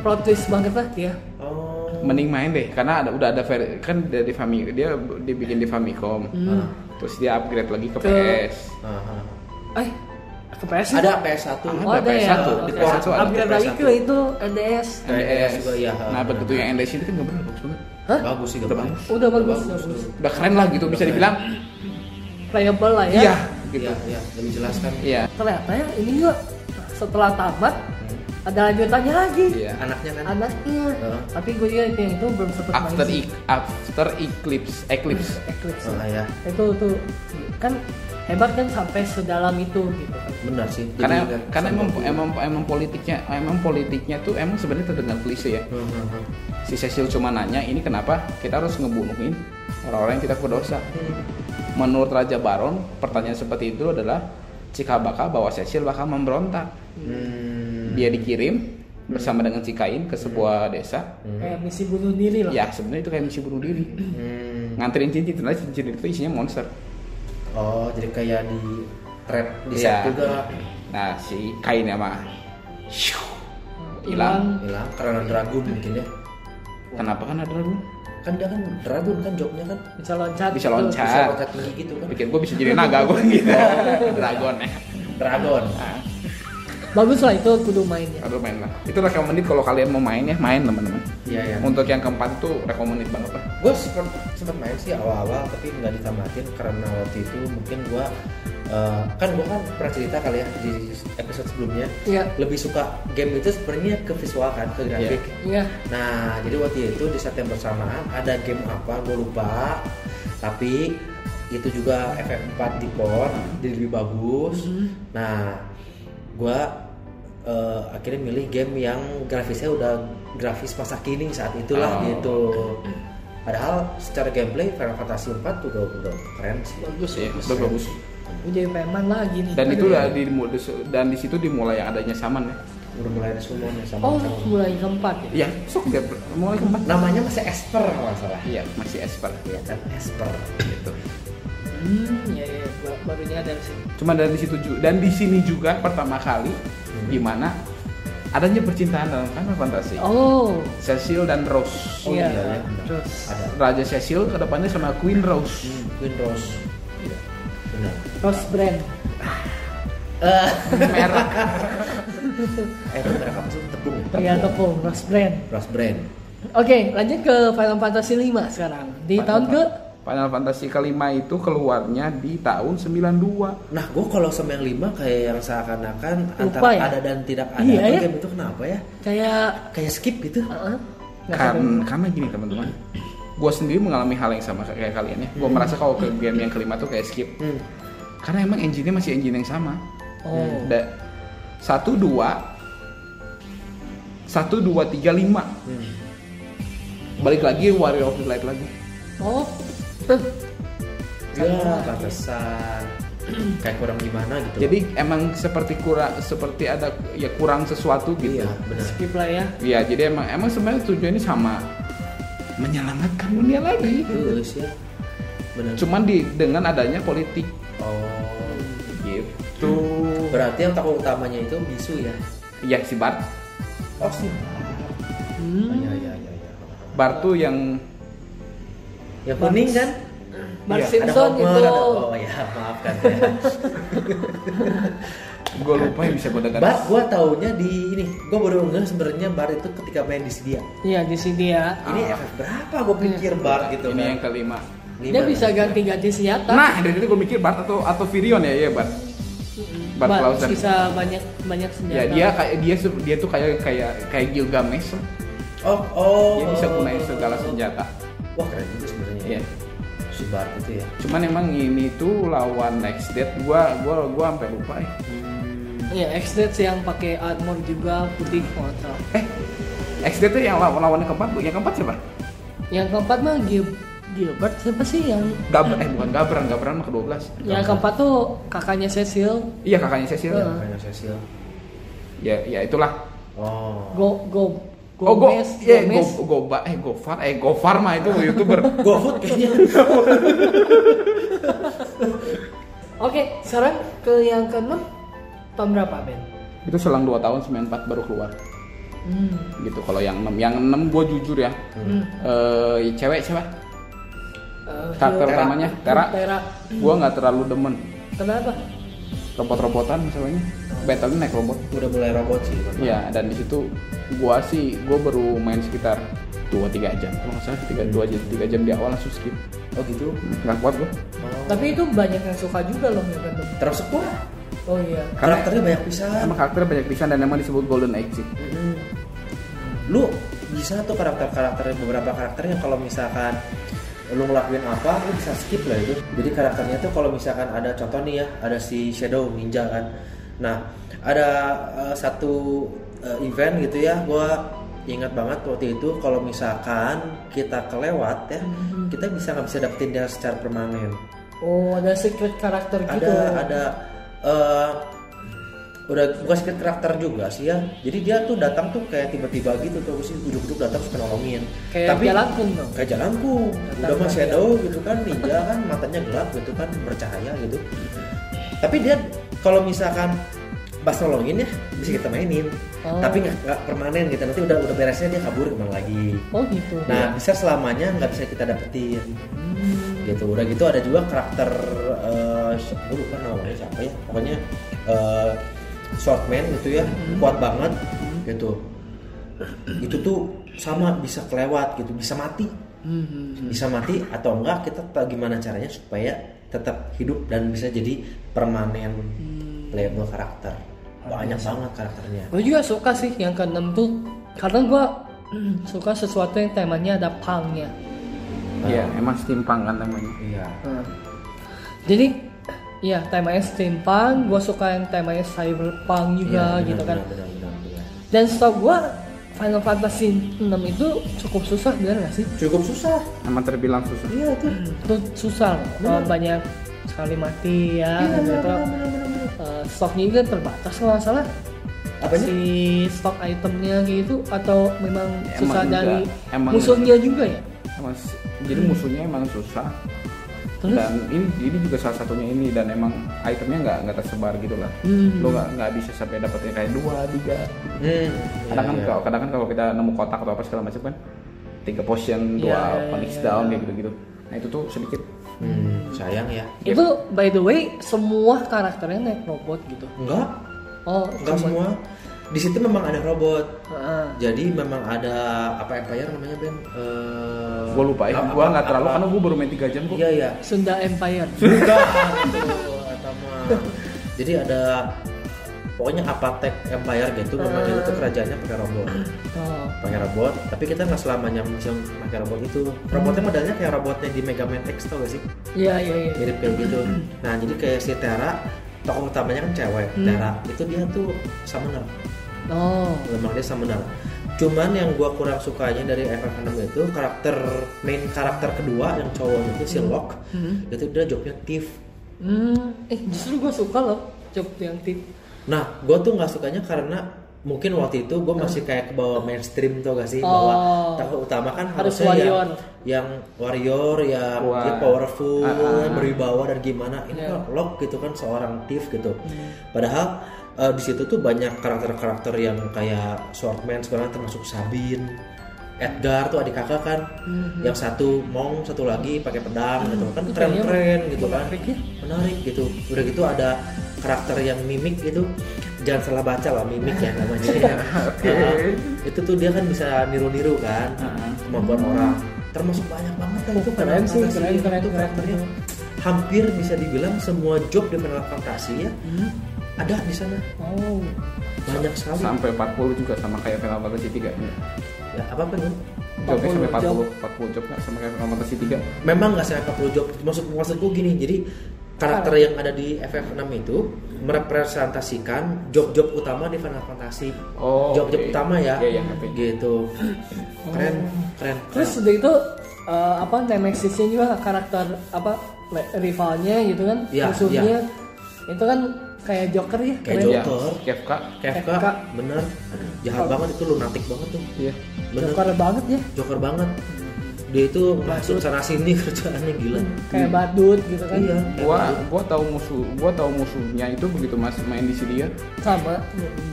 Speaker 1: Plot twist banget lah dia.
Speaker 3: Oh.
Speaker 2: Mending main deh karena ada udah ada ver- kan dari Famicom dia dibikin di Famicom.
Speaker 1: Hmm.
Speaker 2: Terus dia upgrade lagi ke,
Speaker 1: Ke-
Speaker 2: PS.
Speaker 3: Aha.
Speaker 1: Eh, ke PS?
Speaker 3: Ada PS1.
Speaker 1: Oh,
Speaker 2: Ada
Speaker 1: ya.
Speaker 2: PS1.
Speaker 1: Di
Speaker 2: Di
Speaker 1: PS1
Speaker 2: PS1 ada
Speaker 1: upgrade lagi
Speaker 3: PS1.
Speaker 1: ke itu E NDS.
Speaker 2: NDS.
Speaker 3: juga, iya.
Speaker 2: Nah, begitu yang NDS ini kan gambarnya bagus banget.
Speaker 1: Hah?
Speaker 3: Bagus sih
Speaker 2: Udah
Speaker 3: gambarnya.
Speaker 2: bagus.
Speaker 1: Udah bagus, bagus.
Speaker 2: Udah keren lah gitu bisa dibilang.
Speaker 1: Playable lah ya.
Speaker 2: Iya, gitu.
Speaker 3: Iya, iya, lebih jelaskan.
Speaker 2: Iya.
Speaker 1: Ternyata ya ini enggak setelah tamat ada lanjutannya lagi
Speaker 2: Iya.
Speaker 3: anaknya kan
Speaker 1: anaknya
Speaker 3: Heeh.
Speaker 1: tapi gue juga itu, itu belum sempat main
Speaker 2: After
Speaker 1: sih.
Speaker 2: e- after eclipse eclipse.
Speaker 1: Eclipse
Speaker 3: Oh, ya
Speaker 1: itu tuh kan hebat kan sampai sedalam itu gitu
Speaker 3: benar sih Jadi
Speaker 2: karena
Speaker 3: nggak
Speaker 2: karena
Speaker 3: sama
Speaker 2: emang,
Speaker 3: gitu.
Speaker 2: emang emang politiknya emang politiknya tuh emang sebenarnya terdengar klise ya.
Speaker 3: Hmm, hmm, hmm.
Speaker 2: Si Cecil cuma nanya ini kenapa kita harus ngebunuhin orang-orang yang kita berdosa.
Speaker 3: Hmm.
Speaker 2: Menurut Raja Baron, pertanyaan seperti itu adalah Cika bakal bahwa Cecil bakal memberontak.
Speaker 3: Hmm.
Speaker 2: Dia dikirim bersama dengan Cikain ke sebuah desa.
Speaker 1: kayak misi bunuh diri lah
Speaker 2: Ya sebenarnya itu kayak misi bunuh diri.
Speaker 3: Iya. Hmm.
Speaker 2: Nganterin cincin, ternyata cincin itu isinya monster.
Speaker 3: oh jadi kayak di trap di
Speaker 2: Iya.
Speaker 3: set juga
Speaker 2: Nah si Kain sama Shoo, hilang.
Speaker 1: hilang
Speaker 3: hilang karena dragon mungkin ya
Speaker 2: Kenapa kan ada lu?
Speaker 3: kan dia kan dragon kan jobnya kan
Speaker 1: bisa loncat gitu.
Speaker 2: Bisa
Speaker 1: tuh.
Speaker 2: loncat.
Speaker 3: bisa
Speaker 2: Ah.
Speaker 3: loncat tinggi gitu kan
Speaker 2: Pikir gue bisa jadi naga gue gitu. Dragon ya.
Speaker 3: dragon
Speaker 1: bagus lah itu kudu ya. mainnya
Speaker 2: Aduh main lah. Itu recommended kalau kalian mau main ya, main teman-teman.
Speaker 3: iya iya
Speaker 2: Untuk yang keempat itu recommended banget lah.
Speaker 3: gue sempet, sempet main sih awal-awal tapi nggak ditamatin karena waktu itu mungkin gue eh, kan gue kan pernah cerita kali ya di episode sebelumnya
Speaker 1: iya
Speaker 3: lebih suka game itu sebenarnya ke visual kan ke grafik
Speaker 1: iya
Speaker 3: nah jadi waktu itu di saat yang bersamaan ada game apa gue lupa tapi itu juga FF4 di pon jadi lebih bagus
Speaker 1: Hmm.
Speaker 3: nah gue akhirnya milih game yang grafisnya udah grafis masa kini saat
Speaker 1: Ah,
Speaker 3: itulah
Speaker 2: Oh.
Speaker 3: gitu padahal secara gameplay Final Fantasy 4 udah udah keren sih iya,
Speaker 1: bagus
Speaker 2: Iya,
Speaker 1: bagus
Speaker 2: udah bagus.
Speaker 1: Gue jadi preman lagi nih
Speaker 2: Dan
Speaker 1: Aduh.
Speaker 2: itu udah di dan di situ dimulai yang adanya saman ya.
Speaker 3: udah mulai ada summon ya sama
Speaker 1: oh
Speaker 3: sama.
Speaker 1: mulai keempat ya
Speaker 2: Iya, sok dia mulai keempat. Nah,
Speaker 3: namanya masih Esper kalau nggak salah
Speaker 2: Iya, masih esper
Speaker 3: Iya kan Esper
Speaker 2: gitu.
Speaker 1: hmm iya iya Gua baru nyadar sih
Speaker 2: Cuma dari situ ju- dan di sini juga pertama kali
Speaker 3: Hmm.
Speaker 2: di mana adanya percintaan dalam Final Fantasy.
Speaker 1: oh
Speaker 2: Cecil dan Rose.
Speaker 3: Oh,
Speaker 1: iya
Speaker 3: iya, iya.
Speaker 1: terus
Speaker 3: ada
Speaker 2: Raja Cecil kedepannya sama Queen Rose.
Speaker 3: Windows iya benar
Speaker 1: terus brand
Speaker 2: Merah.
Speaker 3: eh itu merek apa sih tepung ya?
Speaker 1: iya tepung terus brand
Speaker 3: Rose Brand
Speaker 1: Oke, lanjut ke Final Fantasy 5 sekarang. Di tahun ke
Speaker 2: Final Fantasy kelima itu keluarnya di tahun 92.
Speaker 3: nah gue kalau sama yang lima kayak yang seakan-akan
Speaker 1: Lupa
Speaker 3: antara
Speaker 1: ya?
Speaker 3: ada dan tidak ada
Speaker 1: Iya,
Speaker 3: Apa
Speaker 1: ya?
Speaker 3: game itu kenapa ya
Speaker 1: kayak
Speaker 3: kayak skip gitu
Speaker 1: uh,
Speaker 2: Kan, karena gini teman-teman, gue sendiri mengalami hal yang sama kayak kalian ya. Gue merasa kalau ke game yang kelima tuh kayak skip.
Speaker 3: hmm.
Speaker 2: Karena emang engine-nya masih engine yang sama.
Speaker 1: Oh,
Speaker 2: Da- satu dua, satu dua tiga lima.
Speaker 3: Hmm.
Speaker 2: Balik lagi Warrior of the Light lagi.
Speaker 1: oh,
Speaker 3: ya pantesan kayak kurang gimana gitu
Speaker 2: Jadi emang seperti kurang seperti ada ya kurang sesuatu gitu.
Speaker 3: iya benar
Speaker 1: skip lah ya.
Speaker 2: Iya, jadi emang emang sebenarnya tujuannya sama menyelamatkan dunia lagi.
Speaker 3: terus ya benar
Speaker 2: Cuman di dengan adanya politik
Speaker 3: oh
Speaker 2: gitu.
Speaker 3: berarti yang tokoh utamanya itu bisu ya
Speaker 2: Iya si Bart.
Speaker 3: oh sih
Speaker 1: Hmm.
Speaker 3: iya iya iya ya.
Speaker 2: Bart tuh yang
Speaker 3: yang kuning kan
Speaker 1: Bart
Speaker 2: Iya, ada iya,
Speaker 1: Simpson
Speaker 3: Homer,
Speaker 1: itu.
Speaker 3: ada- oh ya
Speaker 2: kan.
Speaker 3: maafkan ya.
Speaker 2: gue lupa yang bisa gue dengar.
Speaker 3: Bar gua taunya di ini. Gua baru ngeh sebenarnya bar itu ketika main di Sedia.
Speaker 1: Iya, di sini ya.
Speaker 3: Ini
Speaker 2: Ah.
Speaker 3: FF berapa gua pikir bar gitu
Speaker 2: Ini
Speaker 3: kan.
Speaker 2: yang kelima.
Speaker 3: Lima. kan?
Speaker 1: Dia bisa
Speaker 2: gitu.
Speaker 1: ganti-ganti senjata.
Speaker 2: Nah, dari itu gue mikir Bart atau atau Virion ya, iya Bart. Bart
Speaker 1: Ba-
Speaker 2: Klausen.
Speaker 1: bisa banyak banyak
Speaker 2: Ya
Speaker 1: senjata.
Speaker 2: dia kayak dia su- dia tuh kayak kayak kayak Gilgamesh. lah.
Speaker 3: Oh, oh.
Speaker 2: Dia bisa gunain segala senjata.
Speaker 3: Wah, keren juga sebenarnya.
Speaker 2: Iya.
Speaker 3: Si bar itu ya.
Speaker 2: Cuman emang ini tuh lawan Next Dead gua gua gua sampai lupa ya.
Speaker 1: Iya, X-Dead sih yang pakai armor juga putih kalau nggak salah.
Speaker 2: Eh, XD tuh yang lawan lawannya keempat, Bu. Yang keempat siapa?
Speaker 1: Yang keempat mah Gil- Gilbert siapa sih yang
Speaker 2: Gabran, eh bukan Gabran, Gabran mah ke-12.
Speaker 1: yang keempat tuh kakaknya Cecil,
Speaker 2: Iya kakaknya Cecil.
Speaker 1: Heeh.
Speaker 3: Kayaknya Cecil.
Speaker 2: Ya, ya itulah.
Speaker 3: Oh.
Speaker 1: Go Go
Speaker 2: oh, go,
Speaker 1: Gomez,
Speaker 2: iya,
Speaker 1: Gomez.
Speaker 2: go, Goba, eh Gofar, eh Gofar mah itu youtuber.
Speaker 3: GoFood kayaknya.
Speaker 1: Oke, sekarang ke yang keenam tahun berapa Ben?
Speaker 2: itu selang 2 tahun 94 baru keluar.
Speaker 1: Hmm.
Speaker 2: Gitu kalau yang 6, yang 6 gua jujur ya.
Speaker 1: Hmm.
Speaker 2: Eh, cewek siapa?
Speaker 1: Eh,
Speaker 2: Karakter
Speaker 1: Hero-
Speaker 2: utamanya Tera.
Speaker 1: Tera.
Speaker 2: Gua nggak terlalu demen
Speaker 1: Kenapa?
Speaker 2: robot-robotan misalnya. Battle naik robot.
Speaker 3: Udah mulai robot sih. Bang.
Speaker 2: Iya, dan di situ gua sih gua baru main sekitar 2 3 jam. Kalau nggak salah 3 2 jam 3 jam di awal langsung skip.
Speaker 3: Oh gitu.
Speaker 2: Nggak kuat gua.
Speaker 3: Oh.
Speaker 1: Tapi itu banyak yang suka juga loh ya kan.
Speaker 3: terus gua.
Speaker 1: oh iya
Speaker 2: Karena-
Speaker 3: karakternya banyak pisan
Speaker 2: Emang karakter banyak pisan dan emang disebut Golden Age sih.
Speaker 3: Mm-mm. lu bisa tuh karakter-karakter beberapa karakter yang kalau misalkan lu ngelakuin apa lu bisa skip lah itu jadi karakternya tuh kalau misalkan ada contoh nih ya ada si shadow ninja kan nah ada eh, satu eh, event gitu ya gua ingat banget waktu itu kalau misalkan kita kelewat ya kita bisa nggak bisa dapetin dia secara permanen
Speaker 1: oh ada secret karakter
Speaker 3: ada
Speaker 1: gitu
Speaker 3: ada eh, udah bukan secret karakter juga sih ya jadi dia tuh datang tuh kayak tiba-tiba gitu tuh sih ujuk-ujuk datang suka nolongin
Speaker 1: kayak jalan pun dong
Speaker 3: kayak jalanku udah mah shadow gitu kan ninja kan matanya gelap gitu kan bercahaya gitu tapi dia kalau misalkan pas nolongin ya bisa kita mainin
Speaker 1: Oh.
Speaker 3: tapi nggak nggak permanen gitu nanti udah udah beresnya dia kabur emang lagi
Speaker 1: oh gitu
Speaker 3: nah bisa selamanya nggak bisa kita dapetin
Speaker 1: Hmm.
Speaker 3: gitu udah gitu ada juga karakter eh si- gue lupa namanya siapa ya pokoknya eh shortman gitu ya
Speaker 1: Hmm.
Speaker 3: kuat banget gitu itu tuh sama bisa kelewat gitu bisa mati
Speaker 1: Hmm.
Speaker 3: bisa mati atau enggak kita ta- gimana caranya supaya tetap hidup dan bisa jadi permanen
Speaker 1: Hmm.
Speaker 3: playable karakter banyak banget karakternya
Speaker 1: gue juga suka sih yang keenam tuh karena gue suka sesuatu yang temanya ada pangnya
Speaker 2: Iya, emang steampunk kan namanya.
Speaker 3: iya
Speaker 1: Jadi ya temanya steampunk, gue suka yang temanya cyberpunk juga
Speaker 3: Iya,
Speaker 1: gitu kan.
Speaker 3: benar, benar, benar, benar.
Speaker 1: Dan setahu gue Final Fantasy 6 itu cukup susah bener gak sih? Hmm,
Speaker 3: cukup susah
Speaker 2: Emang terbilang susah.
Speaker 3: iya itu
Speaker 1: Itu susah loh, banyak sekali mati ya
Speaker 3: Iya,
Speaker 1: gitu.
Speaker 3: benar, benar, benar, benar, benar.
Speaker 1: Eh, stoknya juga terbatas kalau nggak salah
Speaker 3: Apanya?
Speaker 1: si stok itemnya gitu atau memang
Speaker 2: Emang
Speaker 1: susah
Speaker 2: enggak.
Speaker 1: dari
Speaker 2: Emang
Speaker 1: musuhnya juga ya
Speaker 2: Emang s- jadi musuhnya emang susah.
Speaker 1: Hmm. Terus?
Speaker 2: Dan ini ini juga salah satunya ini dan emang itemnya nggak nggak tersebar gitu lah.
Speaker 1: Hmm.
Speaker 2: Lo nggak nggak bisa sampai dapetin kayak dua tiga.
Speaker 3: Hmm,
Speaker 2: Kadang
Speaker 3: iya,
Speaker 2: kan
Speaker 3: iya.
Speaker 2: kalau kadang kan kalau kita nemu kotak atau apa segala macam kan tiga potion, dua
Speaker 1: Iya, iya,
Speaker 2: phoenix
Speaker 1: iya.
Speaker 2: down kayak gitu gitu. Nah itu tuh sedikit
Speaker 3: Hmm, sayang ya.
Speaker 2: Yep.
Speaker 1: itu by the way semua karakternya naik robot gitu
Speaker 3: Enggak,
Speaker 1: oh Ah,
Speaker 3: enggak
Speaker 1: cuma-
Speaker 3: semua. Di situ memang ada robot.
Speaker 1: Heeh.
Speaker 3: Jadi memang ada apa Empire namanya Ben? Eh,
Speaker 2: gue lupa ya.
Speaker 3: apa-
Speaker 2: Gue nggak terlalu
Speaker 3: apa-
Speaker 2: karena gue baru main tiga jam kok.
Speaker 3: Iya iya.
Speaker 1: Sunda Empire
Speaker 3: Bukan. Aduh, eta mah. Jadi ada pokoknya Apatek Empire gitu memang itu tuh kerajaannya pakai robot.
Speaker 1: Oh,
Speaker 3: Pakai robot, tapi kita nggak selamanya bisa pakai robot itu. Robotnya modelnya kayak robotnya di Mega Man X tau gak sih?
Speaker 1: iya iya iya.
Speaker 3: mirip kayak gitu nah jadi kayak si Tera tokoh utamanya kan cewek Tera itu dia tuh summoner
Speaker 1: Oh,
Speaker 3: memang dia summoner cuman yang gua kurang sukanya dari FF6 itu karakter main karakter kedua yang cowok itu si Locke itu dia jobnya thief
Speaker 1: hmm, eh justru gue suka loh job yang tip.
Speaker 3: nah gua tuh nggak sukanya karena mungkin waktu itu gue masih kayak ke bawah mainstream tau gak sih bahwa
Speaker 1: Oh.
Speaker 3: tokoh utama kan
Speaker 1: Harus
Speaker 3: harusnya yang-
Speaker 1: warrior.
Speaker 3: yang, warrior yang
Speaker 2: Wah.
Speaker 3: ya, powerful
Speaker 2: Ah, ah.
Speaker 3: berwibawa dan gimana ini
Speaker 1: Ya. Hmm.
Speaker 3: kan lock gitu kan seorang thief gitu padahal eh, di situ tuh banyak karakter-karakter yang kayak swordman sekarang termasuk Sabin Edgar tuh adik kakak kan yang satu mong satu lagi pakai pedang gitu
Speaker 1: Hmm.
Speaker 3: kan
Speaker 1: Itu kayaknya
Speaker 3: keren-keren gitu kan menarik gitu udah gitu ada karakter yang mimik gitu jangan salah baca lah mimik ya namanya
Speaker 1: Iya,
Speaker 3: ya. Nah, itu tuh dia kan bisa niru-niru kan kemampuan orang termasuk banyak banget kan itu
Speaker 1: Ah, Oh, keren
Speaker 3: Final
Speaker 1: sih,
Speaker 3: Fantasy
Speaker 1: keren,
Speaker 3: itu
Speaker 1: keren, keren.
Speaker 3: karakternya hampir bisa dibilang semua job di Final Fantasy ya
Speaker 1: Hmm.
Speaker 3: ada di sana
Speaker 1: Oh,
Speaker 3: banyak sekali
Speaker 2: Sampai 40 juga sama kayak Final Fantasy 3
Speaker 3: ya apa apa nih
Speaker 2: Jobnya
Speaker 1: 40
Speaker 2: sampai 40,
Speaker 1: job.
Speaker 2: 40 job nggak sama kayak Final Fantasy 3
Speaker 3: memang nggak sampai 40 job maksud maksudku gini jadi karakter yang ada di FF6 itu merepresentasikan job-job utama di Final Fantasy
Speaker 2: Oh,
Speaker 3: job-job
Speaker 2: oke.
Speaker 3: utama ya
Speaker 2: Iya, iya, ngerti.
Speaker 3: gitu keren keren
Speaker 1: terus udah itu eh, apa nemesisnya juga karakter apa le- rivalnya gitu kan
Speaker 3: Iya,
Speaker 1: musuhnya itu kan kayak Joker ya.
Speaker 3: Kayak
Speaker 1: keren.
Speaker 2: Iya,
Speaker 3: Joker.
Speaker 2: Kefka.
Speaker 3: Kefka
Speaker 1: Kefka.
Speaker 3: bener jahat banget itu lunatik banget tuh
Speaker 2: Iya.
Speaker 3: bener
Speaker 1: Oh. Joker banget ya.
Speaker 3: Joker banget dia itu masuk sana sini kerjaannya gila
Speaker 1: Kayak badut gitu kan.
Speaker 3: iya
Speaker 2: Gua gua tahu musuh, gua tahu musuhnya itu begitu Mas main di sini ya.
Speaker 1: Sama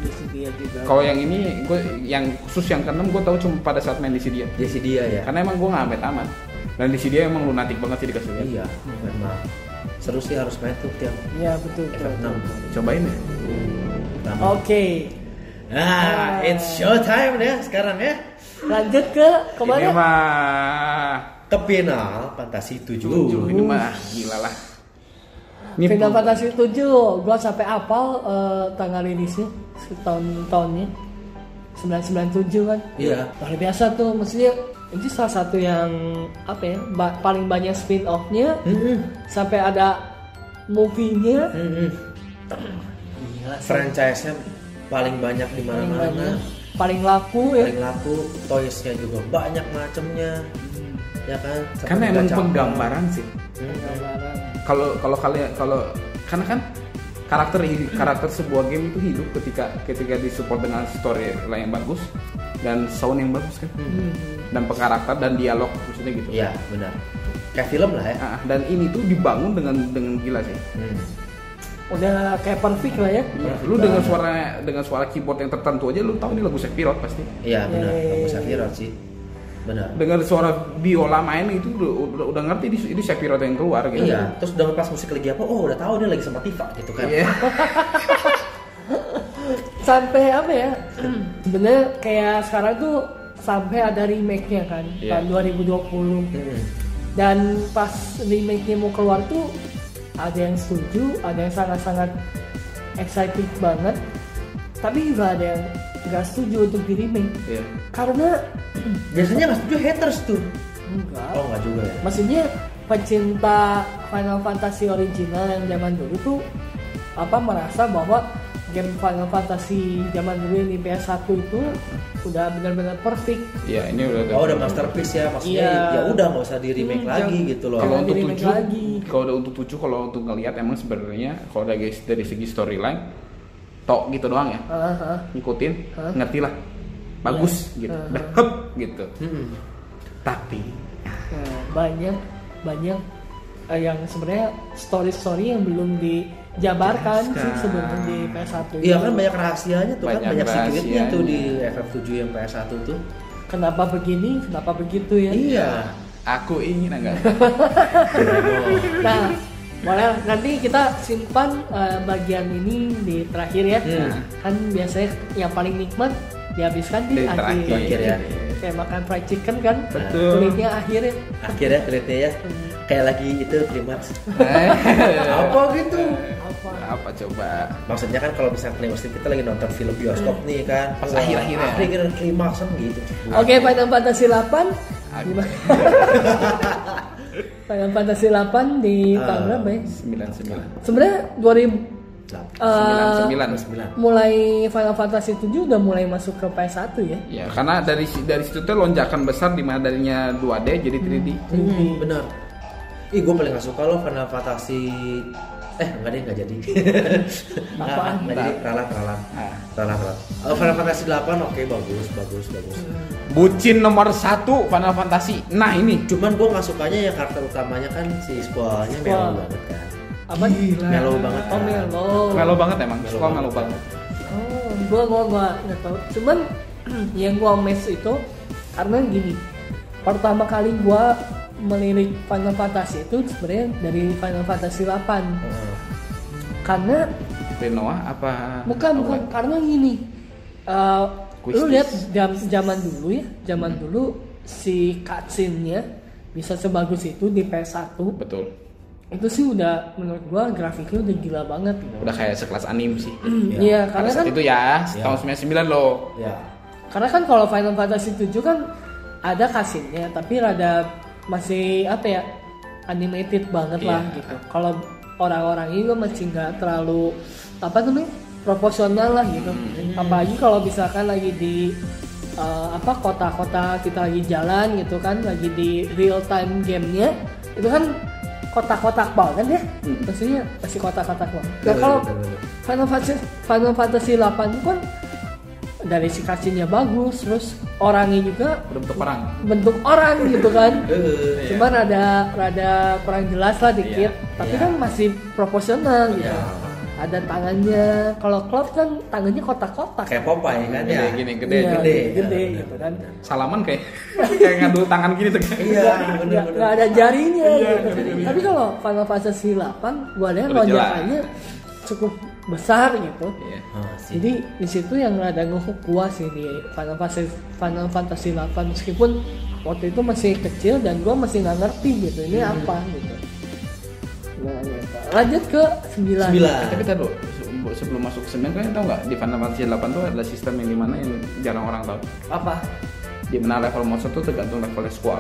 Speaker 1: di sini ya juga.
Speaker 2: Kalau yang ini gua yang khusus yang keenam gua tahu cuma pada saat main di sini ya.
Speaker 3: dia si dia ya
Speaker 2: Karena emang gua nggak sampai tamat. Dan di sini dia emang lunatik banget sih dikasih lihat.
Speaker 3: iya memang seru sih harus main tuh tiap
Speaker 1: Iya betul. betul.
Speaker 3: FF6
Speaker 2: Cobain ya.
Speaker 3: Pertama.
Speaker 1: Oke. Oh.
Speaker 3: Nah, it's show time ya sekarang ya.
Speaker 1: Lanjut ke
Speaker 2: Ini
Speaker 1: kemana?
Speaker 2: mah
Speaker 3: Ke final Fantasi 7.
Speaker 2: tujuh ini mah gila lah. Mimpi.
Speaker 1: Final Fantasy 7 gua sampai apal eh, tanggal rilisnya tahun tahunnya 997 kan
Speaker 3: Iya.
Speaker 1: luar biasa tuh maksudnya ini salah satu yang apa ya ba- paling banyak spin offnya
Speaker 3: Mm-mm.
Speaker 1: sampai ada movie-nya
Speaker 3: Mm-mm.
Speaker 1: Gila sih.
Speaker 3: franchise-nya paling banyak di
Speaker 1: paling
Speaker 3: mana-mana
Speaker 1: banyak paling laku ya
Speaker 3: paling laku toys-nya juga banyak macemnya ya kan Seperti
Speaker 2: karena emang
Speaker 3: baca-
Speaker 2: penggambaran sih
Speaker 3: Mm-mm.
Speaker 2: kalau kalau kalian kalau karena kan karakter karakter sebuah game itu hidup ketika ketika disupport dengan story yang bagus dan sound yang bagus kan dan pengkarakter dan dialog maksudnya gitu
Speaker 3: iya benar kayak film lah ya
Speaker 2: Ah, dan ini tuh dibangun dengan dengan gila sih
Speaker 3: Hmm.
Speaker 1: udah kayak perfect lah ya
Speaker 2: lu dengan suara dengan suara keyboard yang tertentu aja lu tahu ini lagu Sephiroth pasti
Speaker 3: iya benar
Speaker 1: Yeay.
Speaker 3: aku
Speaker 1: iya.
Speaker 3: Safira sih benar
Speaker 2: dengan suara biola main itu udah, udah, udah ngerti ini, ini Sephiroth yang keluar gitu
Speaker 3: Iya, terus udah pas musik lagi apa, oh udah tahu dia lagi sama Tifa gitu kan.
Speaker 2: Iya.
Speaker 1: sampai apa ya
Speaker 3: Hmm.
Speaker 1: sebenarnya kayak sekarang tuh sampai ada remake-nya kan
Speaker 2: Iya.
Speaker 1: tahun 2020
Speaker 3: Mm-mm.
Speaker 1: dan pas remake-nya mau keluar tuh ada yang setuju ada yang sangat-sangat excited banget tapi juga ada yang nggak setuju untuk di remake
Speaker 2: Iya.
Speaker 1: karena
Speaker 3: Biasanya nggak setuju haters tuh.
Speaker 1: enggak
Speaker 3: Oh nggak juga ya.
Speaker 1: maksudnya pecinta Final Fantasy original yang zaman dulu tuh apa merasa bahwa game Final Fantasy zaman dulu yang di PS1 itu udah benar-benar perfect
Speaker 2: Iya, ini udah
Speaker 3: Oh udah masterpiece ya, maksudnya
Speaker 1: Iya.
Speaker 3: ya udah nggak usah di remake
Speaker 1: Hmm,
Speaker 3: lagi
Speaker 1: jangan-
Speaker 3: gitu loh.
Speaker 2: kalau
Speaker 1: Jangan
Speaker 2: untuk
Speaker 1: di-remake
Speaker 2: tujuh
Speaker 1: lagi.
Speaker 2: kalau udah untuk tujuh kalau untuk ngelihat emang sebenarnya kalau dari dari segi storyline tok gitu doang ya
Speaker 1: Ah, ah.
Speaker 2: ngikutin
Speaker 1: Hah? Iya.
Speaker 2: ngerti lah bagus gitu
Speaker 1: Hah.
Speaker 2: udah hep gitu
Speaker 3: Mm-mm.
Speaker 2: tapi
Speaker 1: Nah, banyak banyak eh, yang sebenarnya story-story yang belum dijabarkan sih
Speaker 2: Jelaskan.
Speaker 1: sebelum di PS1
Speaker 3: Iya
Speaker 1: itu.
Speaker 3: kan banyak rahasianya tuh kan,
Speaker 2: Banyak
Speaker 3: banyak secretnya tuh di
Speaker 2: rahasianya.
Speaker 3: FF7 yang PS1 tuh.
Speaker 1: kenapa begini kenapa begitu ya
Speaker 3: Iya.
Speaker 2: aku ingin enggak
Speaker 1: Nah, boleh nanti kita simpan eh, bagian ini di terakhir ya.
Speaker 3: Hmm.
Speaker 1: Kan biasanya yang paling nikmat dihabiskan di,
Speaker 2: Di
Speaker 1: akhir.
Speaker 2: terakhir
Speaker 3: ya.
Speaker 1: Kayak makan fried chicken kan.
Speaker 2: Betul.
Speaker 1: Kulitnya akhir ya.
Speaker 3: Akhirnya kulitnya ya kayak lagi itu klimaks.
Speaker 2: apa
Speaker 3: gitu?
Speaker 1: Apa?
Speaker 2: apa coba
Speaker 3: Maksudnya kan kalau misalnya klimaks itu kita lagi nonton film bioskop nih kan,
Speaker 2: Pas
Speaker 3: Wah,
Speaker 2: akhir-akhirnya.
Speaker 3: akhirnya klimaks kan gitu.
Speaker 1: Oke, Final Fantasy 8.
Speaker 2: Aduh.
Speaker 1: Gimana? Final Fantasy 8 di tahun
Speaker 2: Eh.
Speaker 3: Ah.
Speaker 1: berapa ya?
Speaker 2: sembilan sembilan
Speaker 1: Sebenarnya 2000
Speaker 3: Delapan,
Speaker 2: sembilan
Speaker 1: eh,
Speaker 2: sembilan
Speaker 3: Sembilan.
Speaker 1: mulai Final Fantasy 7 udah mulai masuk ke PS1 ya.
Speaker 2: ya karena dari dari situ tuh lonjakan besar di mana darinya 2D jadi 3D
Speaker 3: Hmm, benar. Ih, gue paling gak suka loh Final Fantasy Eh, enggak deh, enggak jadi
Speaker 1: Apaan?
Speaker 3: Nggak jadi, ralat, ralat
Speaker 2: Ah.
Speaker 3: Ralat, ralat oh, Final Fantasy 8, oke, bagus, bagus, bagus
Speaker 2: bucin nomor satu Final Fantasy nah ini
Speaker 3: Cuman gue gak sukanya yang karakter utamanya kan si Squall-nya
Speaker 1: Squall.
Speaker 3: melo banget kan
Speaker 1: Apa?
Speaker 3: Melo banget
Speaker 1: Oh,
Speaker 3: kan
Speaker 1: Melo.
Speaker 2: melo banget emang
Speaker 3: Melo
Speaker 2: sekolah
Speaker 3: banget.
Speaker 2: melo banget
Speaker 1: Oh, gua gua gua nggak tahu. Cuman yang gua miss itu karena gini. Pertama kali gua melirik Final Fantasy itu sebenarnya dari Final Fantasy 8.
Speaker 3: Heeh.
Speaker 1: Karena
Speaker 2: Renoa apa
Speaker 1: bukan bukan karena gini. Eh,
Speaker 2: Quiz
Speaker 1: lu
Speaker 2: quiz.
Speaker 1: lihat jam- zaman dulu ya, zaman
Speaker 2: Hmm.
Speaker 1: dulu si cutscene-nya bisa sebagus itu di PS1
Speaker 2: betul
Speaker 1: itu sih udah menurut gua grafiknya udah gila banget gitu.
Speaker 2: udah kayak sekelas anim sih
Speaker 1: Iya,
Speaker 3: Iya,
Speaker 2: Pada
Speaker 1: karena kan
Speaker 2: saat itu ya tahun 99 loh
Speaker 1: iya.
Speaker 3: Ya,
Speaker 1: Karena kan kalau Final Fantasy 7 kan ada kasinnya, tapi rada masih apa ya animated banget lah
Speaker 2: Iya.
Speaker 1: gitu. Kalau orang-orang ini gua masih nggak terlalu apa namanya proporsional lah gitu. Apalagi kalau misalkan lagi di eh, apa kota-kota kita lagi jalan gitu kan, lagi di real time gamenya itu kan kotak-kotak banget ya, maksudnya masih kotak-kotak banget. Nah
Speaker 3: Betul,
Speaker 1: kalau
Speaker 3: betul, betul.
Speaker 1: Final Fantasy Final Fantasy 8 itu kan dari si kasinnya bagus terus orangnya juga
Speaker 2: bentuk perang
Speaker 1: bentuk orang gitu kan
Speaker 3: Eh,
Speaker 1: cuman ada rada kurang jelas lah dikit tapi
Speaker 3: Iya.
Speaker 1: kan masih proporsional gitu
Speaker 3: Iya.
Speaker 1: ada tangannya kalau Cloud kan tangannya kotak-kotak
Speaker 3: kayak Popeye kan
Speaker 2: gede
Speaker 3: ya
Speaker 2: gini gede
Speaker 1: Iya,
Speaker 2: gede
Speaker 3: gede.
Speaker 1: gede
Speaker 3: Iya,
Speaker 1: gitu kan
Speaker 2: salaman kayak kayak ngadu tangan gini tuh kayak
Speaker 3: Iya,
Speaker 1: Nggak- nggak
Speaker 3: bener-bener
Speaker 1: ada jarinya
Speaker 2: Iya,
Speaker 1: gitu.
Speaker 2: jarinya.
Speaker 1: tapi kalau Final Fantasy 8 gua lihat
Speaker 2: Udah jelas.
Speaker 1: lonjakannya cukup besar gitu
Speaker 2: Iya.
Speaker 3: Ah, sih.
Speaker 1: Jadi di situ yang rada ngehook gua sih di Final Fantasy Final Fantasy 8 meskipun
Speaker 3: Hmm.
Speaker 1: waktu itu masih kecil dan gua masih nggak ngerti gitu ini apa gitu. semuanya. Lanjut ke 9.
Speaker 3: Sembilan. Hmm.
Speaker 2: Tapi kita dulu se- sebelum masuk ke sembilan kalian tahu nggak di Final Fantasy 8 tuh ada sistem yang dimana yang jarang orang tahu.
Speaker 1: Apa?
Speaker 2: Di mana level monster tuh tergantung levelnya squad.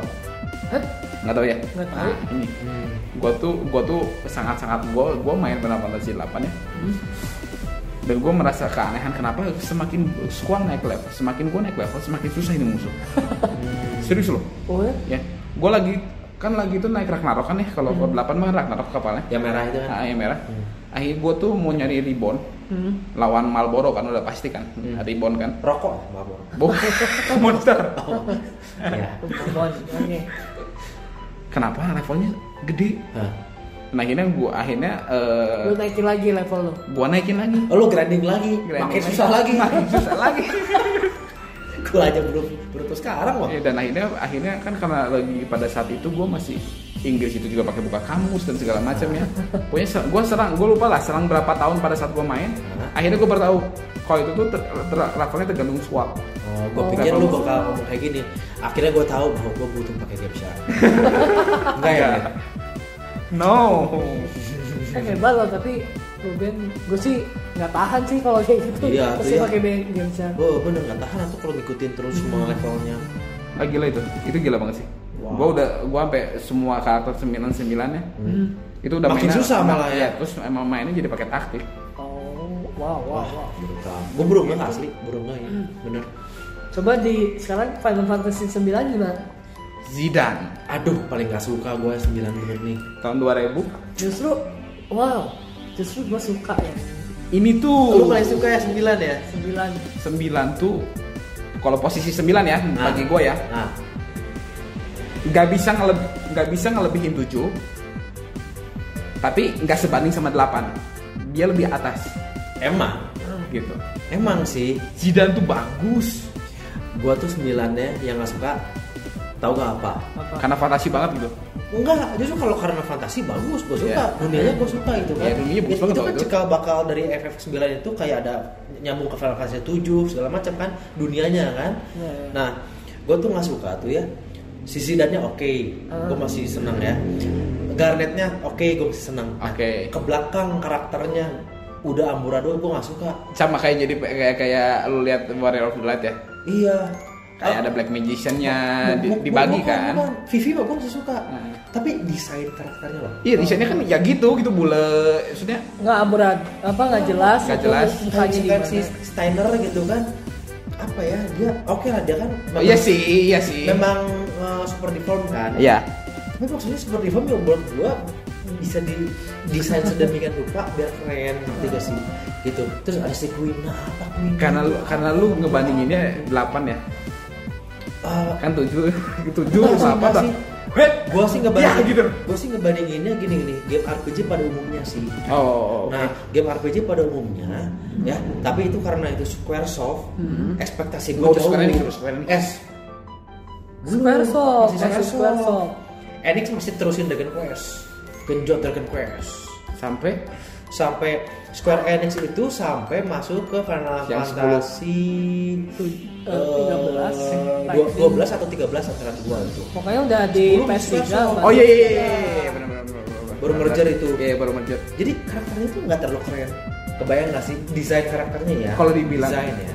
Speaker 1: Hah?
Speaker 2: Nggak tahu ya?
Speaker 1: Nggak tahu.
Speaker 2: Nah, ini
Speaker 3: Hmm.
Speaker 2: gua tuh gua tuh sangat sangat gua gua main Final Fantasy 8 ya. Dan gua merasa keanehan kenapa semakin squad naik level, semakin gua naik level semakin susah ini musuh. Serius loh.
Speaker 1: Oh, ya?
Speaker 2: Ya, gua lagi kan lagi tuh naik Ragnarok kan ya kalau hmm. 8 mah Ragnarok kapalnya.
Speaker 3: yang merah itu kan
Speaker 2: Ah, yang merah. Akhirnya gue tuh mau nyari ribon
Speaker 1: Hmm.
Speaker 2: lawan Marlboro kan udah pasti kan,
Speaker 3: Hmm.
Speaker 2: ribon kan.
Speaker 3: rokok mabok
Speaker 2: Bo- monster.
Speaker 3: ya
Speaker 1: Pokemon.
Speaker 3: Eh.
Speaker 1: Oke.
Speaker 2: Kenapa levelnya gede?
Speaker 3: Hah.
Speaker 2: Nah akhirnya gue akhirnya eh,
Speaker 1: Lu naikin lagi level lu.
Speaker 2: gua naikin lagi.
Speaker 3: Oh, lu grinding lagi
Speaker 2: Grinding
Speaker 3: makin susah lagi
Speaker 2: makin susah lagi.
Speaker 3: gua aja belum belum sekarang loh
Speaker 2: Ya, dan akhirnya akhirnya kan karena lagi pada saat itu gue masih Inggris itu juga pakai buka kamus dan segala macam ya. Pokoknya ser- gua serang, gue lupa lah serang berapa tahun pada saat gue main. Akhirnya gue baru tahu kalau itu tuh ter- ter- levelnya tergantung swap.
Speaker 3: Oh, gue
Speaker 2: Oh.
Speaker 3: pikir lu bakal ngomong kayak gini. Akhirnya gue tahu bahwa gue butuh pakai game shark. Enggak ya?
Speaker 2: Enggak. No.
Speaker 1: Eh, hebat loh tapi Ruben, gue sih nggak tahan sih kalau kayak gitu. Terus
Speaker 3: Iya, tuh
Speaker 1: dia
Speaker 3: ya.
Speaker 1: pakai be- game share.
Speaker 3: Gue bener nggak tahan tuh kalau ngikutin terus semua levelnya.
Speaker 2: Ah, gila itu. Itu gila banget sih.
Speaker 3: Wow.
Speaker 2: Gua udah gua sampai semua karakter 99 ya.
Speaker 1: Hmm.
Speaker 2: Itu udah
Speaker 3: Makin
Speaker 2: mainnya-
Speaker 3: susah malah ya.
Speaker 2: Iya, terus emang mainnya jadi pakai taktik.
Speaker 1: Oh, wow, wow, wow.
Speaker 3: brutal. Gue burung nggak asli, burung nggak ya?
Speaker 2: Hmm.
Speaker 3: Bener.
Speaker 1: Coba di sekarang Final Fantasy 9 gimana?
Speaker 2: Zidane
Speaker 3: Aduh, paling gak suka gue 9 bener nih.
Speaker 2: tahun 2000.
Speaker 1: Justru wow, justru gue suka ya
Speaker 2: Ini
Speaker 3: Lu
Speaker 2: tuh
Speaker 3: paling suka ya 9 ya?
Speaker 1: 9
Speaker 2: 9 tuh kalau posisi 9 ya
Speaker 3: Nah.
Speaker 2: bagi gua ya.
Speaker 3: Nah,
Speaker 2: nggak bisa ngeleb nggak bisa ngelebihin 7. Tapi nggak sebanding sama 8. Dia lebih atas
Speaker 3: emang,
Speaker 2: gitu.
Speaker 3: emang sih.
Speaker 2: Zidane tuh bagus.
Speaker 3: Gue tuh 9 nya yang gak suka. Tahu gak apa?
Speaker 1: apa?
Speaker 2: Karena fantasi banget gitu.
Speaker 3: Enggak, justru kalau karena fantasi bagus, gue suka.
Speaker 2: Iya.
Speaker 3: Dunianya gue suka itu kan.
Speaker 2: Iya, dunianya bagus
Speaker 3: Itu-
Speaker 2: banget
Speaker 3: Itu
Speaker 2: loh
Speaker 3: kan
Speaker 2: itu.
Speaker 3: cikal bakal dari FF9 itu kayak ada nyambung ke Final Fantasy 7 segala macam kan dunianya kan.
Speaker 1: Iya, iya.
Speaker 3: Nah, gue tuh nggak suka tuh ya. Sisi dannya oke,
Speaker 2: Ah.
Speaker 3: gue masih senang ya. Garnetnya oke, gue masih senang. Nah,
Speaker 2: Oke.
Speaker 3: Ke belakang karakternya udah amburadul, gue nggak suka.
Speaker 2: sama kayak jadi kayak kayak lu lihat Warrior of the Light ya
Speaker 3: Iya.
Speaker 2: kayak
Speaker 3: Ah,
Speaker 2: ada black magiciannya di-
Speaker 3: bu- bu-
Speaker 2: dibagi
Speaker 3: bukan,
Speaker 2: kan
Speaker 3: bukan. Vivi mah gue masih suka.
Speaker 2: Hmm.
Speaker 3: Tapi desain karakternya loh.
Speaker 2: iya desainnya kan ya gitu gitu bule maksudnya
Speaker 1: nggak amurad apa nggak jelas
Speaker 2: Nggak
Speaker 1: itu
Speaker 2: jelas.
Speaker 1: mukanya
Speaker 3: kayak
Speaker 1: gimana.
Speaker 3: si Steiner gitu kan apa ya dia oke lah dia kan
Speaker 2: oh, iya sih iya sih
Speaker 3: memang uh, super deform kan
Speaker 2: iya
Speaker 3: tapi maksudnya super deform yang buat gua bisa di desain sedemikian rupa biar keren gitu gak sih gitu terus ada si Queen nah apa Queen
Speaker 2: karena lu karena lu ngebandinginnya 8 ya
Speaker 3: Ah,
Speaker 2: kan 7
Speaker 3: Enggak
Speaker 2: 7
Speaker 3: sih,
Speaker 2: sama
Speaker 3: enggak
Speaker 2: apa
Speaker 3: sih.
Speaker 2: Wait.
Speaker 3: gua sih ngebandingin
Speaker 2: Ya, gitu.
Speaker 3: gua sih ngebandinginnya gini gini game RPG pada umumnya sih
Speaker 2: oh Hmm.
Speaker 3: Nah, game RPG pada umumnya ya, tapi itu karena itu Squaresoft, ekspektasi gue
Speaker 2: Oh,
Speaker 3: jauh.
Speaker 2: Square Enix, Square Enix.
Speaker 3: S.
Speaker 1: Squaresoft,
Speaker 3: Masih
Speaker 1: masih Squaresoft.
Speaker 3: Enix masih terusin Dragon Quest. Genjot Dragon Quest.
Speaker 2: sampai
Speaker 3: Sampai Square Enix itu sampai masuk ke Final
Speaker 2: Yang
Speaker 3: Fantasy
Speaker 1: Tu- eh,
Speaker 3: eh,
Speaker 1: 13
Speaker 3: dua- 12 atau 13 antara dua itu.
Speaker 1: pokoknya udah di
Speaker 3: 10
Speaker 1: PS3
Speaker 3: Squaresoft.
Speaker 1: Bang.
Speaker 2: oh iya iya iya iya, benar benar, benar, benar.
Speaker 3: Baru merger itu.
Speaker 2: iya baru merger
Speaker 3: Jadi karakternya tuh nggak terlalu keren. Kebayang nggak sih desain karakternya ya?
Speaker 2: Kalau dibilang.
Speaker 3: desain ya.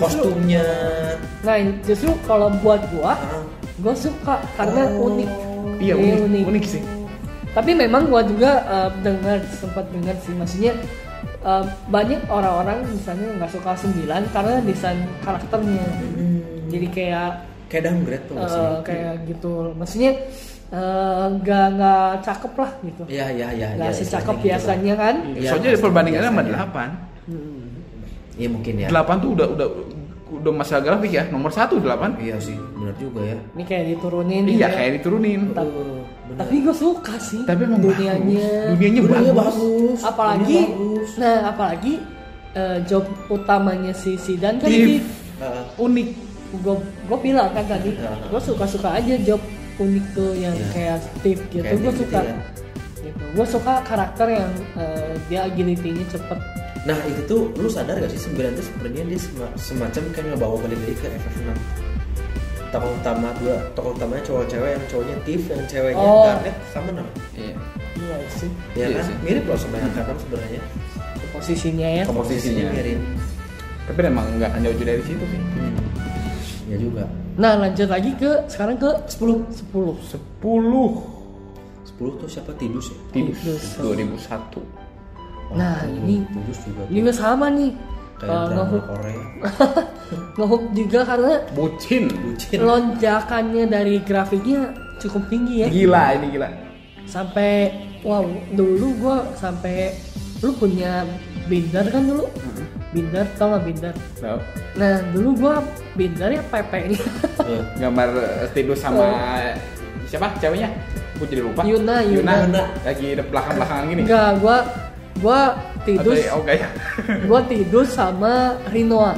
Speaker 3: Kostumnya.
Speaker 1: nah justru kalau buat gua
Speaker 3: ah,
Speaker 1: gua suka karena
Speaker 3: Oh.
Speaker 1: unik
Speaker 2: iya
Speaker 1: Dia
Speaker 2: unik unik sih
Speaker 1: tapi memang gua juga eh, dengar sempat dengar sih maksudnya eh, banyak orang-orang misalnya nggak suka 9 karena desain karakternya
Speaker 3: Hmm.
Speaker 1: jadi kayak
Speaker 3: Kayak downgrade tuh nggak sih?
Speaker 1: eh, kayak gitu maksudnya eh, nggak nggak cakep lah gitu
Speaker 3: Iya iya iya.
Speaker 1: nggak
Speaker 3: iya,
Speaker 1: secakep
Speaker 3: istilahnya gitu lah.
Speaker 1: biasanya kan
Speaker 3: Iya,
Speaker 2: soalnya
Speaker 3: pasti,
Speaker 2: perbandingannya sama
Speaker 3: biasanya.
Speaker 2: 8
Speaker 3: Iya mungkin ya.
Speaker 2: 8 tuh udah udah udah masalah grafik ya nomor satu 8
Speaker 3: Iya sih, benar juga ya.
Speaker 1: ini kayak diturunin ya.
Speaker 2: iya kayak diturunin
Speaker 1: Ta-
Speaker 3: Bener.
Speaker 1: tapi gue suka sih
Speaker 2: tapi emang bagus.
Speaker 1: dunianya
Speaker 2: dunianya
Speaker 3: Dunianya
Speaker 2: bagus
Speaker 3: bagus.
Speaker 1: apalagi
Speaker 3: dunianya bagus.
Speaker 1: nah apalagi eh, job utamanya si Sidan kan
Speaker 2: Thief.
Speaker 1: di
Speaker 3: Heeh.
Speaker 2: unik
Speaker 1: gue gue bilang kan tadi
Speaker 3: Ya.
Speaker 1: gue suka suka aja job unik tuh yang
Speaker 3: Ya.
Speaker 1: kayak tip gitu
Speaker 3: Kayak
Speaker 1: gue
Speaker 3: tip
Speaker 1: suka
Speaker 3: gitu ya.
Speaker 1: gitu gue suka karakter yang eh, dia agility-nya cepet
Speaker 3: Nah itu tuh lu sadar gak sih 9 itu sebenarnya dia sema- semacam kayak ngebawa balik lagi ke FF6 tokoh utama dua tokoh utamanya cowok cewek yang cowoknya Tiff yang ceweknya
Speaker 1: Oh.
Speaker 3: Garnet sama no
Speaker 2: Iya.
Speaker 1: Iya sih
Speaker 3: ya
Speaker 2: Iya
Speaker 3: kan
Speaker 2: sih.
Speaker 3: mirip loh sama yang kanan sebenarnya
Speaker 1: posisinya ya.
Speaker 2: Komposisinya.
Speaker 3: mirip
Speaker 2: Tapi memang nggak hanya jauh dari situ sih.
Speaker 3: ya juga
Speaker 1: Nah lanjut lagi ke sekarang ke 10 10
Speaker 2: Sepuluh
Speaker 3: 10 tuh siapa Tidus ya
Speaker 2: Tidus 2001
Speaker 1: Nah, ini-
Speaker 3: Tidus juga tuh.
Speaker 1: Ini juga sama nih. Eh,
Speaker 3: kayak drama
Speaker 1: ngehook
Speaker 3: Korea
Speaker 1: ngehook juga karena
Speaker 2: Bucin
Speaker 3: bucin
Speaker 1: lonjakannya dari grafiknya cukup tinggi ya.
Speaker 2: Gila ini gila
Speaker 1: Sampai wow dulu gua sampai lu punya binder kan dulu? Binder tau gak binder?
Speaker 2: Tau.
Speaker 1: Nah dulu gua ya, bindernya PP nya
Speaker 3: Eh,
Speaker 2: Gambar eh, Tidus sama Siapa ceweknya? Gue jadi
Speaker 1: Oh.
Speaker 2: lupa
Speaker 1: Yuna, Yuna.
Speaker 2: Lagi di belakang-belakangan gini
Speaker 1: Enggak gua gua tidus
Speaker 2: Atau- Oh gaya
Speaker 1: gua tidus sama Rinoa.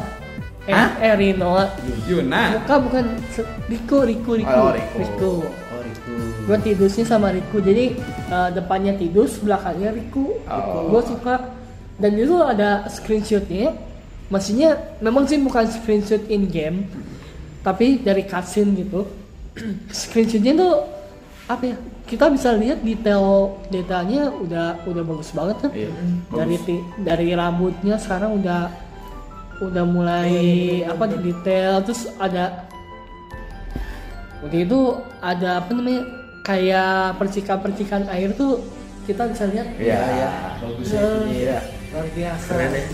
Speaker 1: Eh,
Speaker 2: Hah?
Speaker 1: eh Rinoa.
Speaker 2: Yuna
Speaker 1: Bukan bukan se- Riku Riku Riku.
Speaker 2: Oh, Riku.
Speaker 3: oh itu
Speaker 1: Gue tidusnya sama Riku, jadi eh, depannya tidus, belakangnya Riku.
Speaker 2: Oh.
Speaker 1: Gue suka. Dan itu ada screenshotnya. Maksudnya memang sih bukan screenshot in game, tapi dari cutscene gitu. screenshotnya tuh apa ya? Kita bisa lihat detail detailnya udah udah bagus banget kan.
Speaker 2: Iya,
Speaker 1: Dari ti- dari rambutnya sekarang udah udah
Speaker 2: Iya,
Speaker 1: mulai apa detail terus ada Waktu itu ada apa namanya kayak percikan-percikan air tuh kita bisa lihat
Speaker 2: Iya
Speaker 3: ya bagus ya
Speaker 1: Eh,
Speaker 3: ini ya
Speaker 1: luar biasa.
Speaker 3: keren ya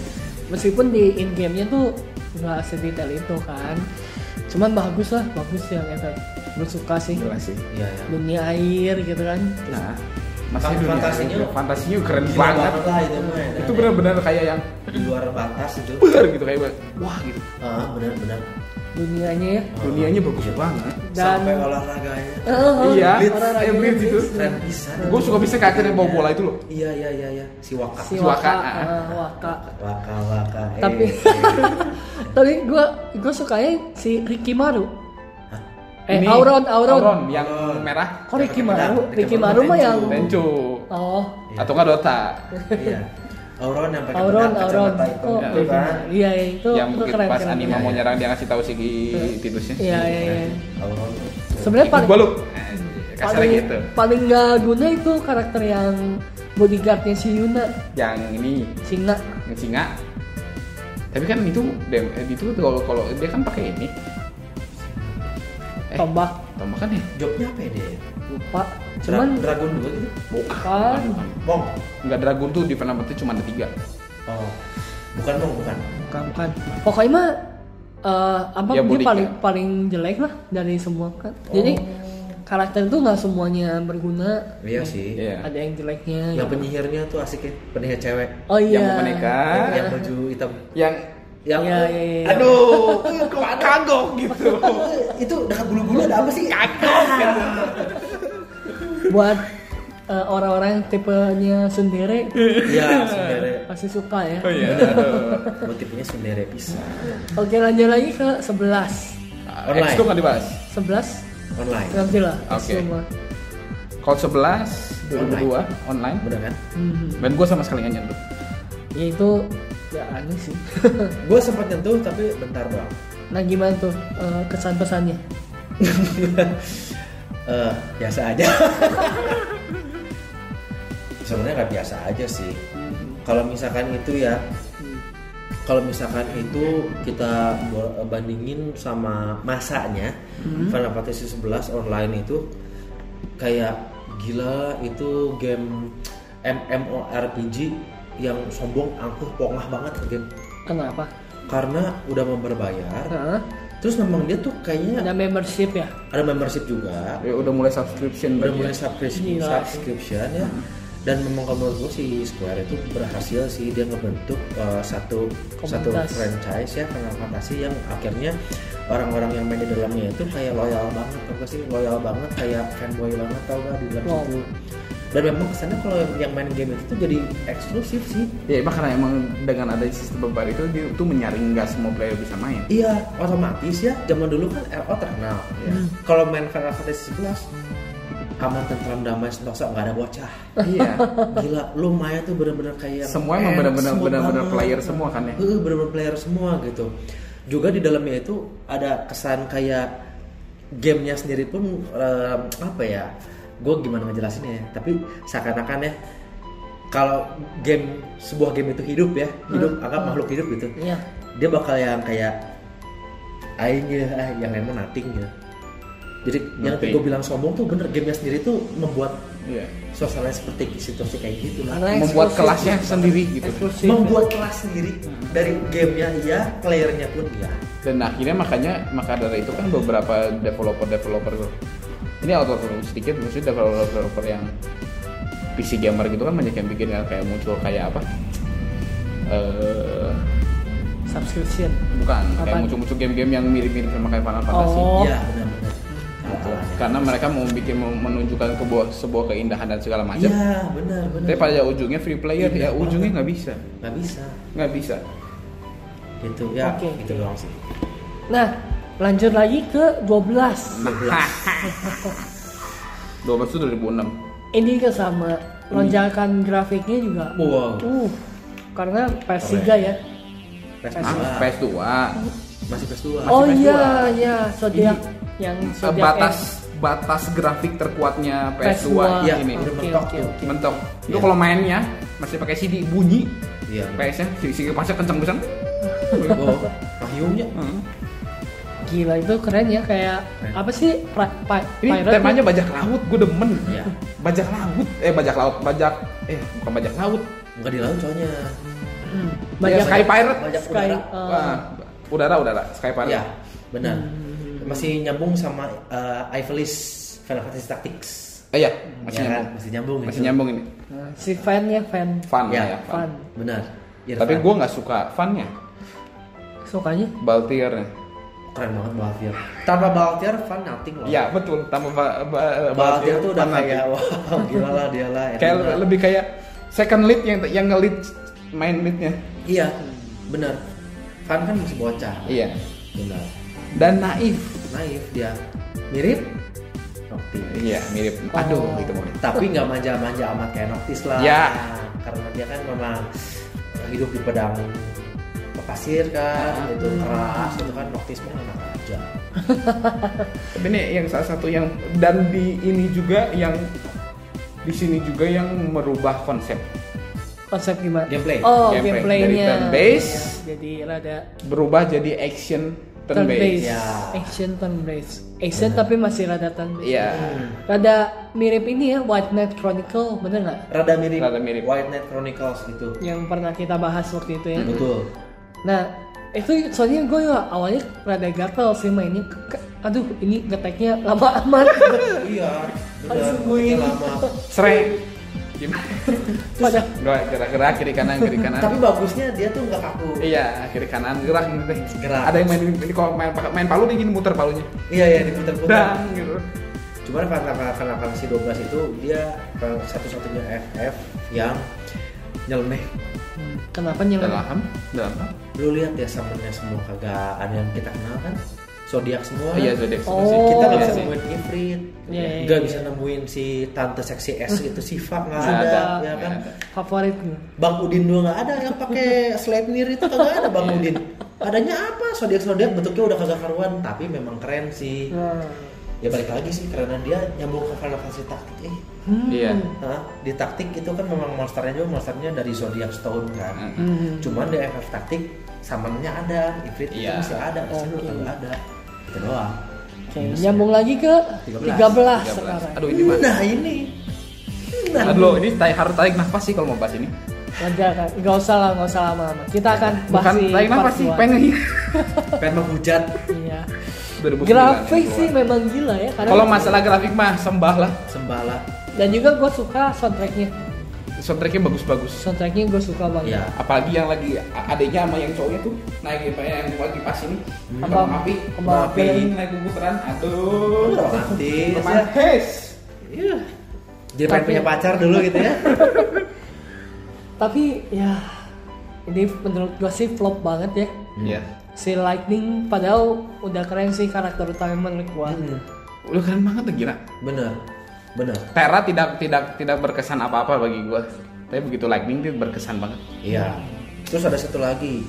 Speaker 1: Meskipun di in game-nya tuh nggak sedetail itu kan, cuman bagus lah, bagus yang efek. Gue suka sih
Speaker 2: Gila sih
Speaker 3: iya ya
Speaker 1: dunia air gitu kan.
Speaker 2: Nah
Speaker 3: Tapi
Speaker 2: Masih dunia
Speaker 3: fantasinya-
Speaker 2: aja. Fantasinya keren
Speaker 3: Gila
Speaker 2: banget
Speaker 3: lah itu mah ya.
Speaker 2: Itu benar-benar kayak yang
Speaker 3: di luar batas itu
Speaker 2: Ber gitu kayak Wah gitu
Speaker 3: ah benar-benar
Speaker 1: Dunianya ya.
Speaker 3: Oh.
Speaker 2: Dunianya bagus
Speaker 3: Iya.
Speaker 2: banget
Speaker 1: Dan-
Speaker 3: sampai olahraganya
Speaker 1: Eh,
Speaker 2: Iya,
Speaker 1: orang-orang
Speaker 2: kayak
Speaker 1: yang
Speaker 2: Blitz itu.
Speaker 1: Blitz.
Speaker 3: keren pisan
Speaker 2: Gue suka bisa kayak akhirnya bawa bola itu loh
Speaker 3: iya iya iya iya si wakak
Speaker 1: Si
Speaker 2: Si
Speaker 1: Waka,
Speaker 2: Waka.
Speaker 1: eh, Waka.
Speaker 3: waka waka eh.
Speaker 1: Tapi tapi gue gue sukanya si Ricky Maru. Eh,
Speaker 2: Ini,
Speaker 1: Auron, Auron.
Speaker 2: Auron yang
Speaker 3: Auron.
Speaker 2: merah
Speaker 1: Kok Oh, Ricky Maru?
Speaker 3: Ricky
Speaker 1: Ricky
Speaker 3: Maru
Speaker 1: Maru mah yang
Speaker 2: Bencu
Speaker 1: Oh,
Speaker 3: Iya.
Speaker 2: Atau nggak Dota
Speaker 3: iya Auron yang pakai
Speaker 1: Auron,
Speaker 3: pedang
Speaker 1: Auron.
Speaker 3: kacamata itu
Speaker 1: Oh,
Speaker 3: itu kan
Speaker 1: iya, iya, itu,
Speaker 2: yang
Speaker 1: itu
Speaker 2: begitu
Speaker 1: keren.
Speaker 2: pas
Speaker 1: keren.
Speaker 2: anima
Speaker 1: Iya,
Speaker 2: mau nyerang dia ngasih tahu si titusnya
Speaker 1: Iya, iya, iya.
Speaker 3: Auron
Speaker 1: Sebenarnya
Speaker 2: ikut
Speaker 1: paling
Speaker 2: gua lu kasarnya
Speaker 1: paling
Speaker 2: gitu
Speaker 1: paling nggak guna itu karakter yang bodyguardnya si Yuna,
Speaker 2: yang ini
Speaker 1: Singa.
Speaker 2: yang singa tapi kan itu dem- eh, itu tuh kalau kalau dia kan pakai ini Eh.
Speaker 1: Tombak,
Speaker 2: tombak kan ya
Speaker 3: jobnya apa ya dia
Speaker 1: lupa.
Speaker 3: cuman
Speaker 1: Cuman
Speaker 3: dragon dua gitu
Speaker 2: bukan
Speaker 1: kan
Speaker 3: bong
Speaker 2: nggak dragon tuh di penampilan cuma ada tiga
Speaker 3: oh bukan bong bukan
Speaker 1: bukan, bukan. Pokoknya mah eh, apa
Speaker 2: kan, Ya,
Speaker 1: dia
Speaker 2: bodyguard.
Speaker 1: paling paling jelek lah dari semua kan. Jadi karakter itu nggak semuanya berguna.
Speaker 3: iya sih
Speaker 2: Iya.
Speaker 1: Ada yang jeleknya.
Speaker 3: yang
Speaker 1: gitu.
Speaker 3: penyihirnya tuh asik ya penyihir cewek
Speaker 1: Oh iya.
Speaker 2: yang mau menikah
Speaker 3: yang baju hitam
Speaker 2: yang
Speaker 3: yang
Speaker 1: Iya, iya, iya.
Speaker 2: aduh kagok gitu
Speaker 3: Oh, itu dekat bulu-bulu ada apa sih
Speaker 2: kagok gitu
Speaker 1: buat eh, orang-orang yang tipenya sendiri
Speaker 3: iya sendere
Speaker 1: pasti suka ya.
Speaker 2: oh iya aduh
Speaker 3: motifnya sendere bisa
Speaker 1: Oke lanjut lagi ke 11
Speaker 2: Online. X
Speaker 3: Online.
Speaker 2: tuh nggak dibahas
Speaker 1: 11
Speaker 3: online
Speaker 1: nanti lah
Speaker 2: Oke.
Speaker 1: semua.
Speaker 2: kalau 11 2002 online
Speaker 3: bener kan
Speaker 1: Mhm.
Speaker 2: dan gue sama sekali nggak nyentuh
Speaker 1: Ya itu ya aneh sih.
Speaker 3: gue sempat nyentuh tapi bentar doang
Speaker 1: nah gimana tuh eh, kesan pesannya?
Speaker 3: Eh, biasa aja sebenarnya nggak biasa aja sih kalau misalkan itu ya kalau misalkan itu kita bo- bandingin sama masanya Final Fantasy 11 online itu kayak gila itu game MMORPG yang sombong angkuh pongah banget game
Speaker 1: Kenapa?
Speaker 3: karena udah membayar bayar
Speaker 1: Hah?
Speaker 3: terus memang dia tuh kayaknya
Speaker 1: ada membership ya?
Speaker 3: ada membership juga
Speaker 2: Ya, udah mulai subscription
Speaker 1: Iya.
Speaker 3: udah
Speaker 2: berarti
Speaker 3: mulai
Speaker 2: ya.
Speaker 3: subscription,
Speaker 1: Gila.
Speaker 3: subscription ya
Speaker 1: Iya.
Speaker 3: dan memang kalau menurut gue si Square itu berhasil sih dia ngebentuk uh, satu satu
Speaker 1: Komunitas.
Speaker 3: franchise ya Final Fantasy yang akhirnya orang-orang yang main di dalamnya itu kayak loyal banget tau gak sih loyal banget kayak fanboy banget tau gak di dalam
Speaker 1: Wow.
Speaker 3: situ dan memang kesannya kalau yang, yang main game itu tuh jadi eksklusif sih
Speaker 2: Ya emang karena emang dengan ada sistem beban itu dia tuh menyaring nggak semua player bisa main.
Speaker 3: Iya, otomatis ya. Zaman dulu kan RO terkenal. Ya.
Speaker 2: Hmm.
Speaker 3: Kalau main Final Fantasy 11, aman tentram damai sentosa nggak ada bocah.
Speaker 2: iya.
Speaker 3: Gila, lu Maya tuh bener-bener kayak
Speaker 2: Semua emang
Speaker 3: eh,
Speaker 2: bener-bener
Speaker 3: semua
Speaker 2: bener-bener
Speaker 3: banget.
Speaker 2: player semua kan ya.
Speaker 3: Heeh, bener-bener player semua gitu. Juga di dalamnya itu ada kesan kayak gamenya sendiri pun eh, apa ya gue gimana ngejelasinnya ya tapi seakan-akan ya kalau game sebuah game itu hidup ya hidup
Speaker 2: Hmm.
Speaker 3: anggap makhluk hidup gitu
Speaker 1: Iya.
Speaker 3: dia bakal yang kayak aing ya ah, yang lain mah nothing ya jadi yang
Speaker 2: Nothing.
Speaker 3: gue bilang sombong tuh bener gamenya sendiri tuh membuat
Speaker 2: Iya.
Speaker 3: suasana seperti situasi kayak gitu lah
Speaker 1: Karena
Speaker 2: Membuat
Speaker 1: eksklusif.
Speaker 2: kelasnya sendiri gitu.
Speaker 1: Eksklusif.
Speaker 3: membuat kelas sendiri
Speaker 2: Hmm.
Speaker 3: dari gamenya iya playernya pun iya
Speaker 2: dan akhirnya makanya maka dari itu kan beberapa developer developer ini auto sedikit maksudnya developer developer yang PC gamer gitu kan banyak yang bikin yang kayak muncul kayak apa eh
Speaker 1: subscription.
Speaker 2: bukan kayak
Speaker 1: Apaan?
Speaker 2: muncul-muncul game-game yang mirip-mirip sama kayak Final Fantasy Gitu.
Speaker 1: Oh.
Speaker 3: iya benar-benar Salah-salahnya.
Speaker 2: karena mereka mau bikin menunjukkan sebuah sebuah keindahan dan segala macam
Speaker 3: iya benar benar
Speaker 2: tapi pada ujungnya free player
Speaker 3: Iya,
Speaker 2: ya ujungnya nggak bisa
Speaker 3: nggak bisa
Speaker 2: nggak bisa
Speaker 3: gitu ya
Speaker 1: Oke.
Speaker 3: gitu doang sih
Speaker 1: Nah, lanjut lagi ke 12.
Speaker 2: nah 12 itu 2006
Speaker 1: Ini ke sama lonjakan grafiknya juga.
Speaker 3: wow
Speaker 1: Uh, karena PS3 ya.
Speaker 3: PS2
Speaker 2: ah, PS2
Speaker 3: Iya. masih PS2
Speaker 1: oh
Speaker 2: PS2.
Speaker 1: iya, iya, Zodiac yang
Speaker 2: Eh,
Speaker 1: Zodiac X.
Speaker 2: batas batas grafik terkuatnya PS2,
Speaker 1: PS2.
Speaker 2: ya,
Speaker 3: iya
Speaker 2: ini
Speaker 3: udah
Speaker 1: Oke,
Speaker 3: mentok
Speaker 1: oke,
Speaker 3: tuh
Speaker 1: oke.
Speaker 2: mentok itu
Speaker 3: Iya.
Speaker 2: kalau mainnya masih pakai CD bunyi
Speaker 3: iya
Speaker 2: PS nya si kepasnya kenceng pisan
Speaker 3: oh Mahyumnya
Speaker 2: Heeh.
Speaker 1: Gila itu keren ya kayak
Speaker 3: Keren.
Speaker 1: apa sih? Pri- pi-
Speaker 2: Iya. ini
Speaker 1: pirate
Speaker 2: temanya
Speaker 1: ya?
Speaker 2: bajak laut gue demen
Speaker 3: kan? Iya.
Speaker 2: bajak laut eh bajak laut bajak eh bukan bajak laut
Speaker 3: nggak di laut soalnya
Speaker 1: Hmm,
Speaker 2: bajak
Speaker 1: bajak
Speaker 2: sky pirate
Speaker 3: banyak
Speaker 1: Sky,
Speaker 3: udara
Speaker 1: eh,
Speaker 2: Wah, udara udara sky pirate
Speaker 3: Oh. iya benar
Speaker 2: Hmm,
Speaker 3: masih nyambung sama eh, Ivalis Final Fantasy Tactics
Speaker 2: eh, iya
Speaker 3: Iya
Speaker 2: masih
Speaker 3: kan?
Speaker 2: nyambung
Speaker 3: masih nyambung
Speaker 2: masih
Speaker 3: itu.
Speaker 2: nyambung ini
Speaker 1: si fan-nya fan
Speaker 2: fun
Speaker 3: Iya,
Speaker 2: ya, fun.
Speaker 1: fan.
Speaker 3: benar
Speaker 2: tapi gue nggak suka funnya
Speaker 1: Sukanya
Speaker 2: Baltiernya
Speaker 3: keren banget Baltier tanpa Baltier Van nothing loh
Speaker 2: iya betul tambah ba- ba-
Speaker 3: Baltier tuh udah
Speaker 2: fun lagi.
Speaker 3: kayak wow gila lah dia lah
Speaker 2: kayak
Speaker 3: enak.
Speaker 2: lebih kayak second lead yang yang nge-lead main leadnya
Speaker 3: iya benar Van kan masih bocah
Speaker 2: iya
Speaker 3: benar
Speaker 2: dan naif
Speaker 3: naif dia mirip Noctis
Speaker 2: iya mirip
Speaker 1: Oh.
Speaker 2: aduh gitu mungkin
Speaker 3: tapi nggak manja-manja amat kayak Noctis lah
Speaker 2: Ya.
Speaker 3: karena dia kan memang eh, hidup di pedang pasir kan
Speaker 2: Ah.
Speaker 3: itu keras itu kan Noctis mah enak aja
Speaker 2: tapi ini yang salah satu yang dan di ini juga yang di sini juga yang merubah konsep
Speaker 1: konsep gimana?
Speaker 3: Gameplay.
Speaker 1: Oh,
Speaker 2: Gameplay.
Speaker 1: gameplaynya.
Speaker 2: Dari turn-based.
Speaker 1: Iya, Jadi rada
Speaker 2: berubah jadi action turn based
Speaker 3: Ya.
Speaker 1: Action turn based. Action tapi masih rada turn based.
Speaker 2: iya
Speaker 1: Rada mirip ini ya White Knight Chronicle, bener nggak?
Speaker 3: rada mirip,
Speaker 2: Rada mirip.
Speaker 3: White Knight Chronicles gitu
Speaker 1: Yang pernah kita bahas waktu itu ya.
Speaker 3: betul
Speaker 1: Nah, itu soalnya gue awalnya rada gatel sih mainnya. Ke- Aduh, ini ngeteknya lama amat.
Speaker 3: iya
Speaker 1: Harus
Speaker 3: benar
Speaker 1: nungguin.
Speaker 3: lama
Speaker 2: sering gimana
Speaker 1: Padahal
Speaker 2: gerak gerak gerak kiri kanan kiri kanan
Speaker 3: tapi bagusnya dia tuh nggak kaku
Speaker 2: iya kiri kanan gerak gitu deh
Speaker 3: Gerak.
Speaker 2: ada yang main ini kalau main main palu dia gini muter palunya
Speaker 3: iya iya diputar-putar
Speaker 2: dang gitu
Speaker 3: cuman Final Final Fantasy 12 itu dia eh, satu-satunya FF yang nyeleneh
Speaker 1: Hmm, kenapa nyelam?
Speaker 2: dalam dalam
Speaker 3: lu lihat ya summonnya semua kagak ada yang kita kenal kan zodiak semua
Speaker 2: iya zodiak
Speaker 1: Oh.
Speaker 2: sih.
Speaker 3: kita nggak
Speaker 2: Iya
Speaker 3: bisa
Speaker 2: sih.
Speaker 3: nemuin Ifrit
Speaker 1: Iya, iya,
Speaker 3: nggak
Speaker 1: iya.
Speaker 3: bisa nemuin si tante seksi S itu sifat nggak ada,
Speaker 2: Nggak
Speaker 3: ya
Speaker 2: ada,
Speaker 3: kan
Speaker 2: nggak
Speaker 1: Iya.
Speaker 2: ada.
Speaker 1: Favorit nih.
Speaker 3: Bang Udin doang nggak ada yang pakai Sleipnir itu kagak ada Bang Udin adanya apa zodiak zodiak bentuknya udah kagak karuan tapi memang keren sih
Speaker 1: Nah.
Speaker 3: ya balik lagi sih karena dia nyambung ke Final Fantasy taktik eh
Speaker 1: Hmm.
Speaker 2: Iya.
Speaker 3: Hah? di taktik itu kan memang monsternya juga monsternya dari zodiak stone kan
Speaker 1: Hmm.
Speaker 3: cuman di FF taktik summonnya ada ifrit itu
Speaker 2: Iya.
Speaker 3: masih ada masih
Speaker 1: Oke.
Speaker 3: kagak ada itu doang
Speaker 1: Oke, nyambung lagi ke 13,
Speaker 3: 13.
Speaker 1: sekarang.
Speaker 2: 13. Aduh ini mah.
Speaker 3: nah ini nah
Speaker 2: Aduh, ini tarik, harus tarik nafas sih kalau mau bahas ini.
Speaker 1: Wajar kan? Gak usah lah, gak usah lama-lama. Kita akan bahas
Speaker 2: Iya. Bukan
Speaker 1: di
Speaker 2: tarik
Speaker 1: part
Speaker 2: nafas sih,
Speaker 1: dua.
Speaker 2: pengen
Speaker 3: pengen menghujat
Speaker 1: Iya.
Speaker 2: 2009
Speaker 1: Grafik
Speaker 2: yang
Speaker 1: sih
Speaker 2: keluar.
Speaker 1: memang gila ya. Karena
Speaker 2: Kalau masalah grafik mah sembah lah.
Speaker 3: sembala
Speaker 1: Dan juga gue suka soundtracknya.
Speaker 2: Soundtracknya bagus-bagus.
Speaker 1: Soundtracknya gue suka banget.
Speaker 2: Iya.
Speaker 3: ya
Speaker 2: Apalagi yang lagi a- adeknya sama yang cowoknya tuh naik apa yang lagi pas ini
Speaker 1: Hmm.
Speaker 2: kembang api,
Speaker 1: Kembang api.
Speaker 2: yang naik kuburan. Aduh,
Speaker 3: romantis ya.
Speaker 2: romantis.
Speaker 3: Iya. jadi
Speaker 1: Tapi-
Speaker 3: pengen
Speaker 1: Hmm.
Speaker 3: punya pacar dulu gitu ya
Speaker 1: Tapi ya ini menurut gue sih flop banget ya.
Speaker 2: Iya.
Speaker 1: Si Lightning padahal udah keren sih karakter utama menurut gue.
Speaker 3: Hmm,
Speaker 2: Udah keren banget tuh gila.
Speaker 3: bener bener
Speaker 2: Terra tidak tidak tidak berkesan apa-apa bagi gua. Tapi begitu Lightning dia berkesan banget.
Speaker 3: iya terus ada satu lagi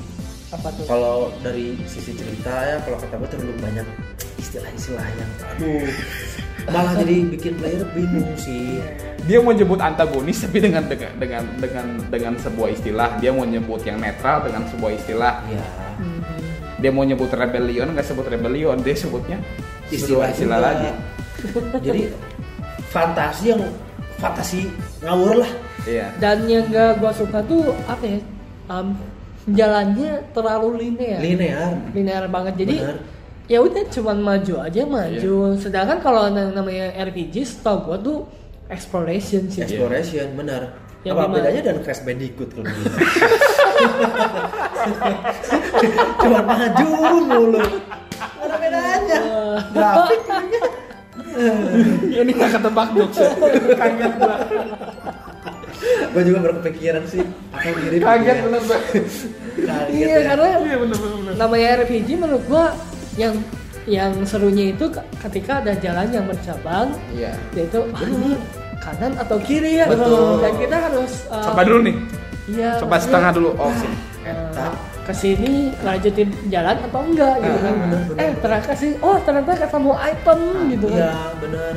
Speaker 1: Apa tuh?
Speaker 3: kalau dari sisi cerita ya kalau kata gue terlalu banyak istilah-istilah yang aduh malah jadi bikin player bingung sih
Speaker 2: dia mau nyebut antagonis tapi dengan dengan dengan dengan, dengan sebuah istilah dia mau nyebut yang netral dengan sebuah istilah
Speaker 1: Iya.
Speaker 3: ya
Speaker 2: dia mau nyebut rebellion nggak sebut rebellion dia sebutnya istilah istilah
Speaker 3: juga.
Speaker 2: lagi
Speaker 3: jadi fantasi yang fantasi ngawur lah
Speaker 2: iya
Speaker 1: dan yang gak gua suka tuh apa ya um, jalannya terlalu linear
Speaker 3: linear
Speaker 1: linear banget jadi
Speaker 3: Benar.
Speaker 1: ya udah cuman maju
Speaker 2: Iya.
Speaker 1: aja maju sedangkan kalau yang namanya RPG setahu gua tuh exploration sih
Speaker 2: Iya.
Speaker 3: exploration benar
Speaker 1: Iya. Yang
Speaker 3: apa
Speaker 1: dimana-
Speaker 3: bedanya dan Crash Bandicoot kalau gitu cuma maju mulu Nggak ada
Speaker 1: Eh,
Speaker 3: bedanya grafik
Speaker 2: ini nggak ketebak jokes kaget gua
Speaker 3: gue juga berkepikiran sih apa yang ngirim
Speaker 2: kaget
Speaker 3: dia.
Speaker 2: bener gua.
Speaker 3: ya. Kaget
Speaker 1: iya
Speaker 3: ya.
Speaker 1: karena
Speaker 2: iya bener bener bener
Speaker 1: namanya RPG menurut gua yang yang serunya itu ke- ketika ada jalan yang bercabang
Speaker 2: iya
Speaker 1: yaitu ah, ini kanan atau kiri ya
Speaker 3: Betul.
Speaker 1: dan kita harus uh,
Speaker 2: coba dulu nih
Speaker 1: iya,
Speaker 2: coba
Speaker 1: maksudnya,
Speaker 2: setengah dulu oh sini
Speaker 1: uh, ke sini lanjutin jalan atau enggak gitu kan
Speaker 2: Ah,
Speaker 3: benar, benar.
Speaker 1: eh ternyata sih oh ternyata ketemu item gitu kan
Speaker 3: Iya benar.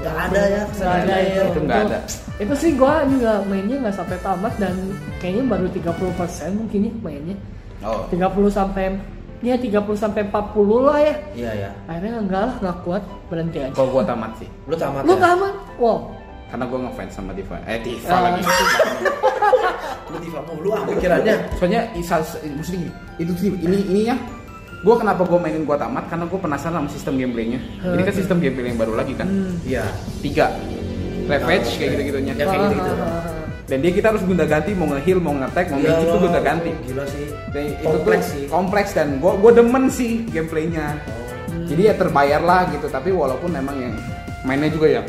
Speaker 3: Gak ada ya
Speaker 1: Nggak
Speaker 3: kesalahan
Speaker 1: ada ya,
Speaker 2: Itu nggak ada.
Speaker 1: Itu sih gua juga mainnya nggak sampai tamat dan kayaknya baru 30% mungkin ya mainnya.
Speaker 2: oh
Speaker 1: 30 sampai ya 30 sampai 40 lah ya.
Speaker 3: Iya ya.
Speaker 1: Akhirnya enggak lah nggak kuat berhenti aja.
Speaker 2: kalau gua tamat sih
Speaker 3: Lu tamat
Speaker 1: Lu
Speaker 3: ya?
Speaker 1: tamat? Wow.
Speaker 2: karena gua ngefans sama Diva eh Diva
Speaker 1: Ah.
Speaker 2: lagi
Speaker 3: Lu tifa mulu ah pikirannya.
Speaker 2: soalnya isa, maksudnya gini, itu sih ini ininya gue kenapa gue mainin gue tamat karena gue penasaran sama sistem gameplaynya ini kan sistem gameplay yang baru lagi kan
Speaker 3: Iya.
Speaker 2: tiga ravage kayak gitu gitunya
Speaker 3: Ya, kayak
Speaker 1: Ah,
Speaker 3: gitu-gitu.
Speaker 2: dan dia kita harus gonta ganti mau ngeheal mau ngetek mau
Speaker 3: Iya
Speaker 2: magic tuh
Speaker 3: lah,
Speaker 2: gonta ganti
Speaker 3: Gila sih.
Speaker 2: dan itu tuh
Speaker 3: ya, Kompleks Oh. sih.
Speaker 2: kompleks dan gue gue demen sih gameplaynya jadi ya terbayar lah gitu tapi walaupun memang yang mainnya juga yang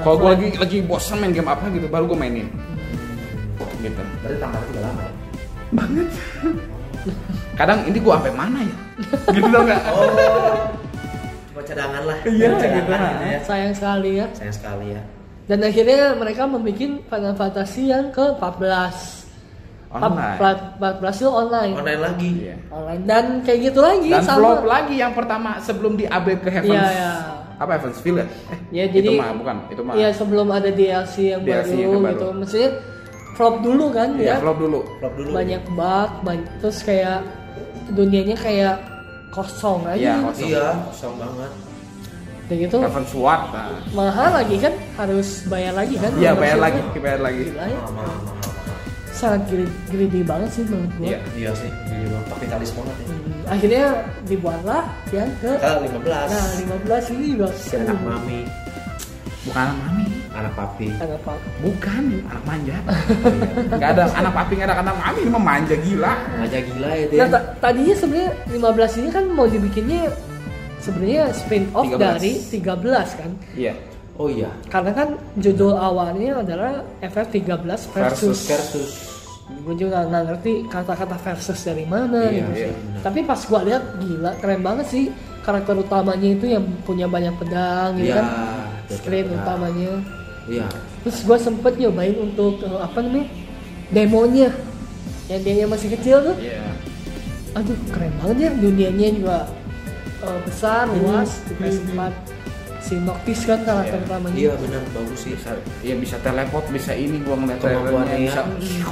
Speaker 1: ah,
Speaker 2: kalau gitu gue lagi lagi bosan main game apa gitu baru gue mainin gitu
Speaker 3: Berarti tamatnya juga lama ya?
Speaker 2: kadang ini gue sampai mana ya gitu tau nggak
Speaker 3: Oh. Cuma cadangan lah.
Speaker 2: Iya,
Speaker 3: Cuma cadangan
Speaker 2: gitu lah.
Speaker 3: ya.
Speaker 1: Sayang sekali ya.
Speaker 3: Sayang sekali ya.
Speaker 1: Dan akhirnya mereka membuat Final Fantasy yang ke-14.
Speaker 2: Online.
Speaker 1: 14 itu online.
Speaker 3: Online lagi.
Speaker 2: Iya.
Speaker 1: Online dan kayak gitu lagi
Speaker 2: Dan
Speaker 1: sama.
Speaker 2: vlog lagi yang pertama sebelum di update ke Heavens.
Speaker 1: Iya, iya.
Speaker 2: Apa Heavens Village? Eh,
Speaker 1: Ya jadi
Speaker 2: itu mah bukan, itu mah.
Speaker 1: Iya sebelum ada DLC yang
Speaker 2: DLC
Speaker 1: baru,
Speaker 2: yang baru.
Speaker 1: gitu. Maksudnya flop dulu kan
Speaker 2: Iya,
Speaker 1: ya.
Speaker 2: vlog dulu.
Speaker 3: Vlog dulu.
Speaker 1: Banyak bug, banyak, terus kayak dunianya kayak kosong
Speaker 2: Iya,
Speaker 1: aja.
Speaker 2: kosong.
Speaker 3: Iya, kosong banget.
Speaker 1: Dan gitu
Speaker 2: Heavens Sword. Nah.
Speaker 1: mahal lagi kan harus bayar lagi kan.
Speaker 2: Iya, bayar lagi,
Speaker 1: membership-nya.
Speaker 2: bayar lagi.
Speaker 1: Gila ya.
Speaker 3: Mahal, mahal, mahal.
Speaker 1: Sangat greedy, greedy banget sih menurut gua.
Speaker 2: Iya.
Speaker 3: Iya sih, gini banget. Kapitalis banget ya.
Speaker 1: Hmm, Akhirnya dibuatlah yang ke
Speaker 3: Kita
Speaker 1: Nah,
Speaker 3: 15.
Speaker 1: 15 ini juga Hmm.
Speaker 3: Si anak mami,
Speaker 2: Bukan anak mami.
Speaker 3: anak papi.
Speaker 1: Ada apa?
Speaker 2: Bukan anak manja. Enggak ada anak papi, enggak ada anak mami, ini mah manja gila.
Speaker 3: Ngajak gila itu
Speaker 1: Nah,
Speaker 3: ya.
Speaker 1: ta- tadinya sebenarnya 15 ini kan mau dibikinnya sebenarnya spin off
Speaker 2: 13.
Speaker 1: dari 13 kan.
Speaker 2: Iya.
Speaker 3: Oh iya.
Speaker 1: Karena kan judul awalnya adalah FF13 versus.
Speaker 2: Versus.
Speaker 3: Versus
Speaker 1: Gue juga nggak ngerti kata-kata versus dari mana
Speaker 3: Iya,
Speaker 1: gitu.
Speaker 2: iya.
Speaker 1: Tapi pas gua lihat gila keren banget sih karakter utamanya itu yang punya banyak pedang gitu
Speaker 3: Iya,
Speaker 1: kan.
Speaker 3: betul.
Speaker 1: Screen
Speaker 3: Nah.
Speaker 1: utamanya.
Speaker 3: Iya.
Speaker 1: Terus gua sempet nyobain untuk eh, apa namanya? demonya. Yang dia masih kecil tuh.
Speaker 2: Iya.
Speaker 1: aduh keren banget ya dunianya juga uh, besar luas di PS4 si Noctis kan karakter
Speaker 2: Iya.
Speaker 1: utamanya
Speaker 3: Iya benar bagus sih.
Speaker 2: Iya bisa teleport, bisa ini gua ngeliat
Speaker 3: Kemampuannya
Speaker 2: trailernya,
Speaker 3: ya.
Speaker 2: bisa.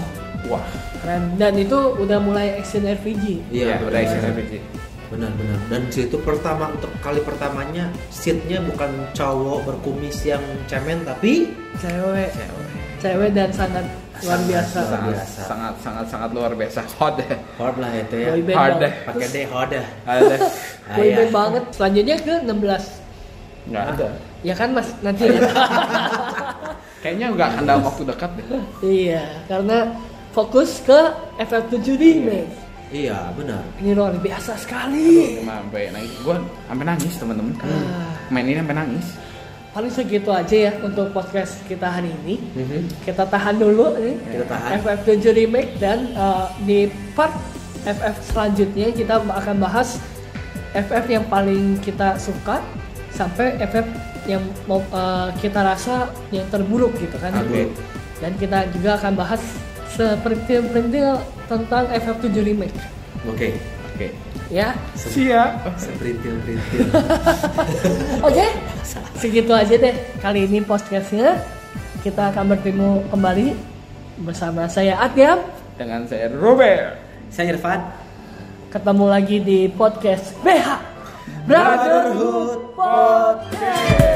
Speaker 2: Wah.
Speaker 1: keren dan itu udah mulai action RPG
Speaker 3: Iya,
Speaker 2: udah
Speaker 3: benar.
Speaker 2: isi RPG.
Speaker 3: benar benar. Dan situ pertama untuk kali pertamanya seatnya bukan cowok berkumis yang cemen tapi
Speaker 1: cewek
Speaker 3: Iya.
Speaker 1: cewek dan sangat luar
Speaker 3: Sangat
Speaker 1: biasa
Speaker 3: luar
Speaker 2: Sangat,
Speaker 3: biasa.
Speaker 2: sangat sangat sangat luar biasa hot deh
Speaker 3: hard lah itu ya.
Speaker 1: boyband
Speaker 2: Hard
Speaker 1: banget.
Speaker 2: deh.
Speaker 3: Pakai deh hard dah. Ah,
Speaker 2: ada
Speaker 1: boyband
Speaker 3: iya.
Speaker 1: banget selanjutnya ke 16
Speaker 2: nggak ada
Speaker 1: ya kan mas nanti ya?
Speaker 2: kayaknya nggak akan dalam waktu dekat deh
Speaker 1: iya karena fokus ke FF7 remake
Speaker 3: Iya, benar.
Speaker 1: ini luar biasa sekali
Speaker 2: Cuma sampai nangis gue sampai nangis teman-teman
Speaker 1: Ah.
Speaker 2: main ini sampai nangis
Speaker 1: paling segitu aja ya untuk podcast kita hari ini kita tahan dulu eh. nih
Speaker 3: Kita tahan.
Speaker 1: FF7 remake dan uh, di part FF selanjutnya kita akan bahas FF yang paling kita suka sampai FF yang mau uh, kita rasa yang terburuk gitu kan
Speaker 2: Oke.
Speaker 1: dan kita juga akan bahas seperti perintah tentang FF7 remake
Speaker 3: Oke.
Speaker 2: oke Oke.
Speaker 1: ya
Speaker 2: Siap.
Speaker 3: seprintil printil
Speaker 1: oke segitu aja deh kali ini podcastnya kita akan bertemu kembali bersama saya Atyam
Speaker 2: Dengan saya Robert.
Speaker 3: saya Irfan
Speaker 1: ketemu lagi di podcast BH Brotherhood Podcast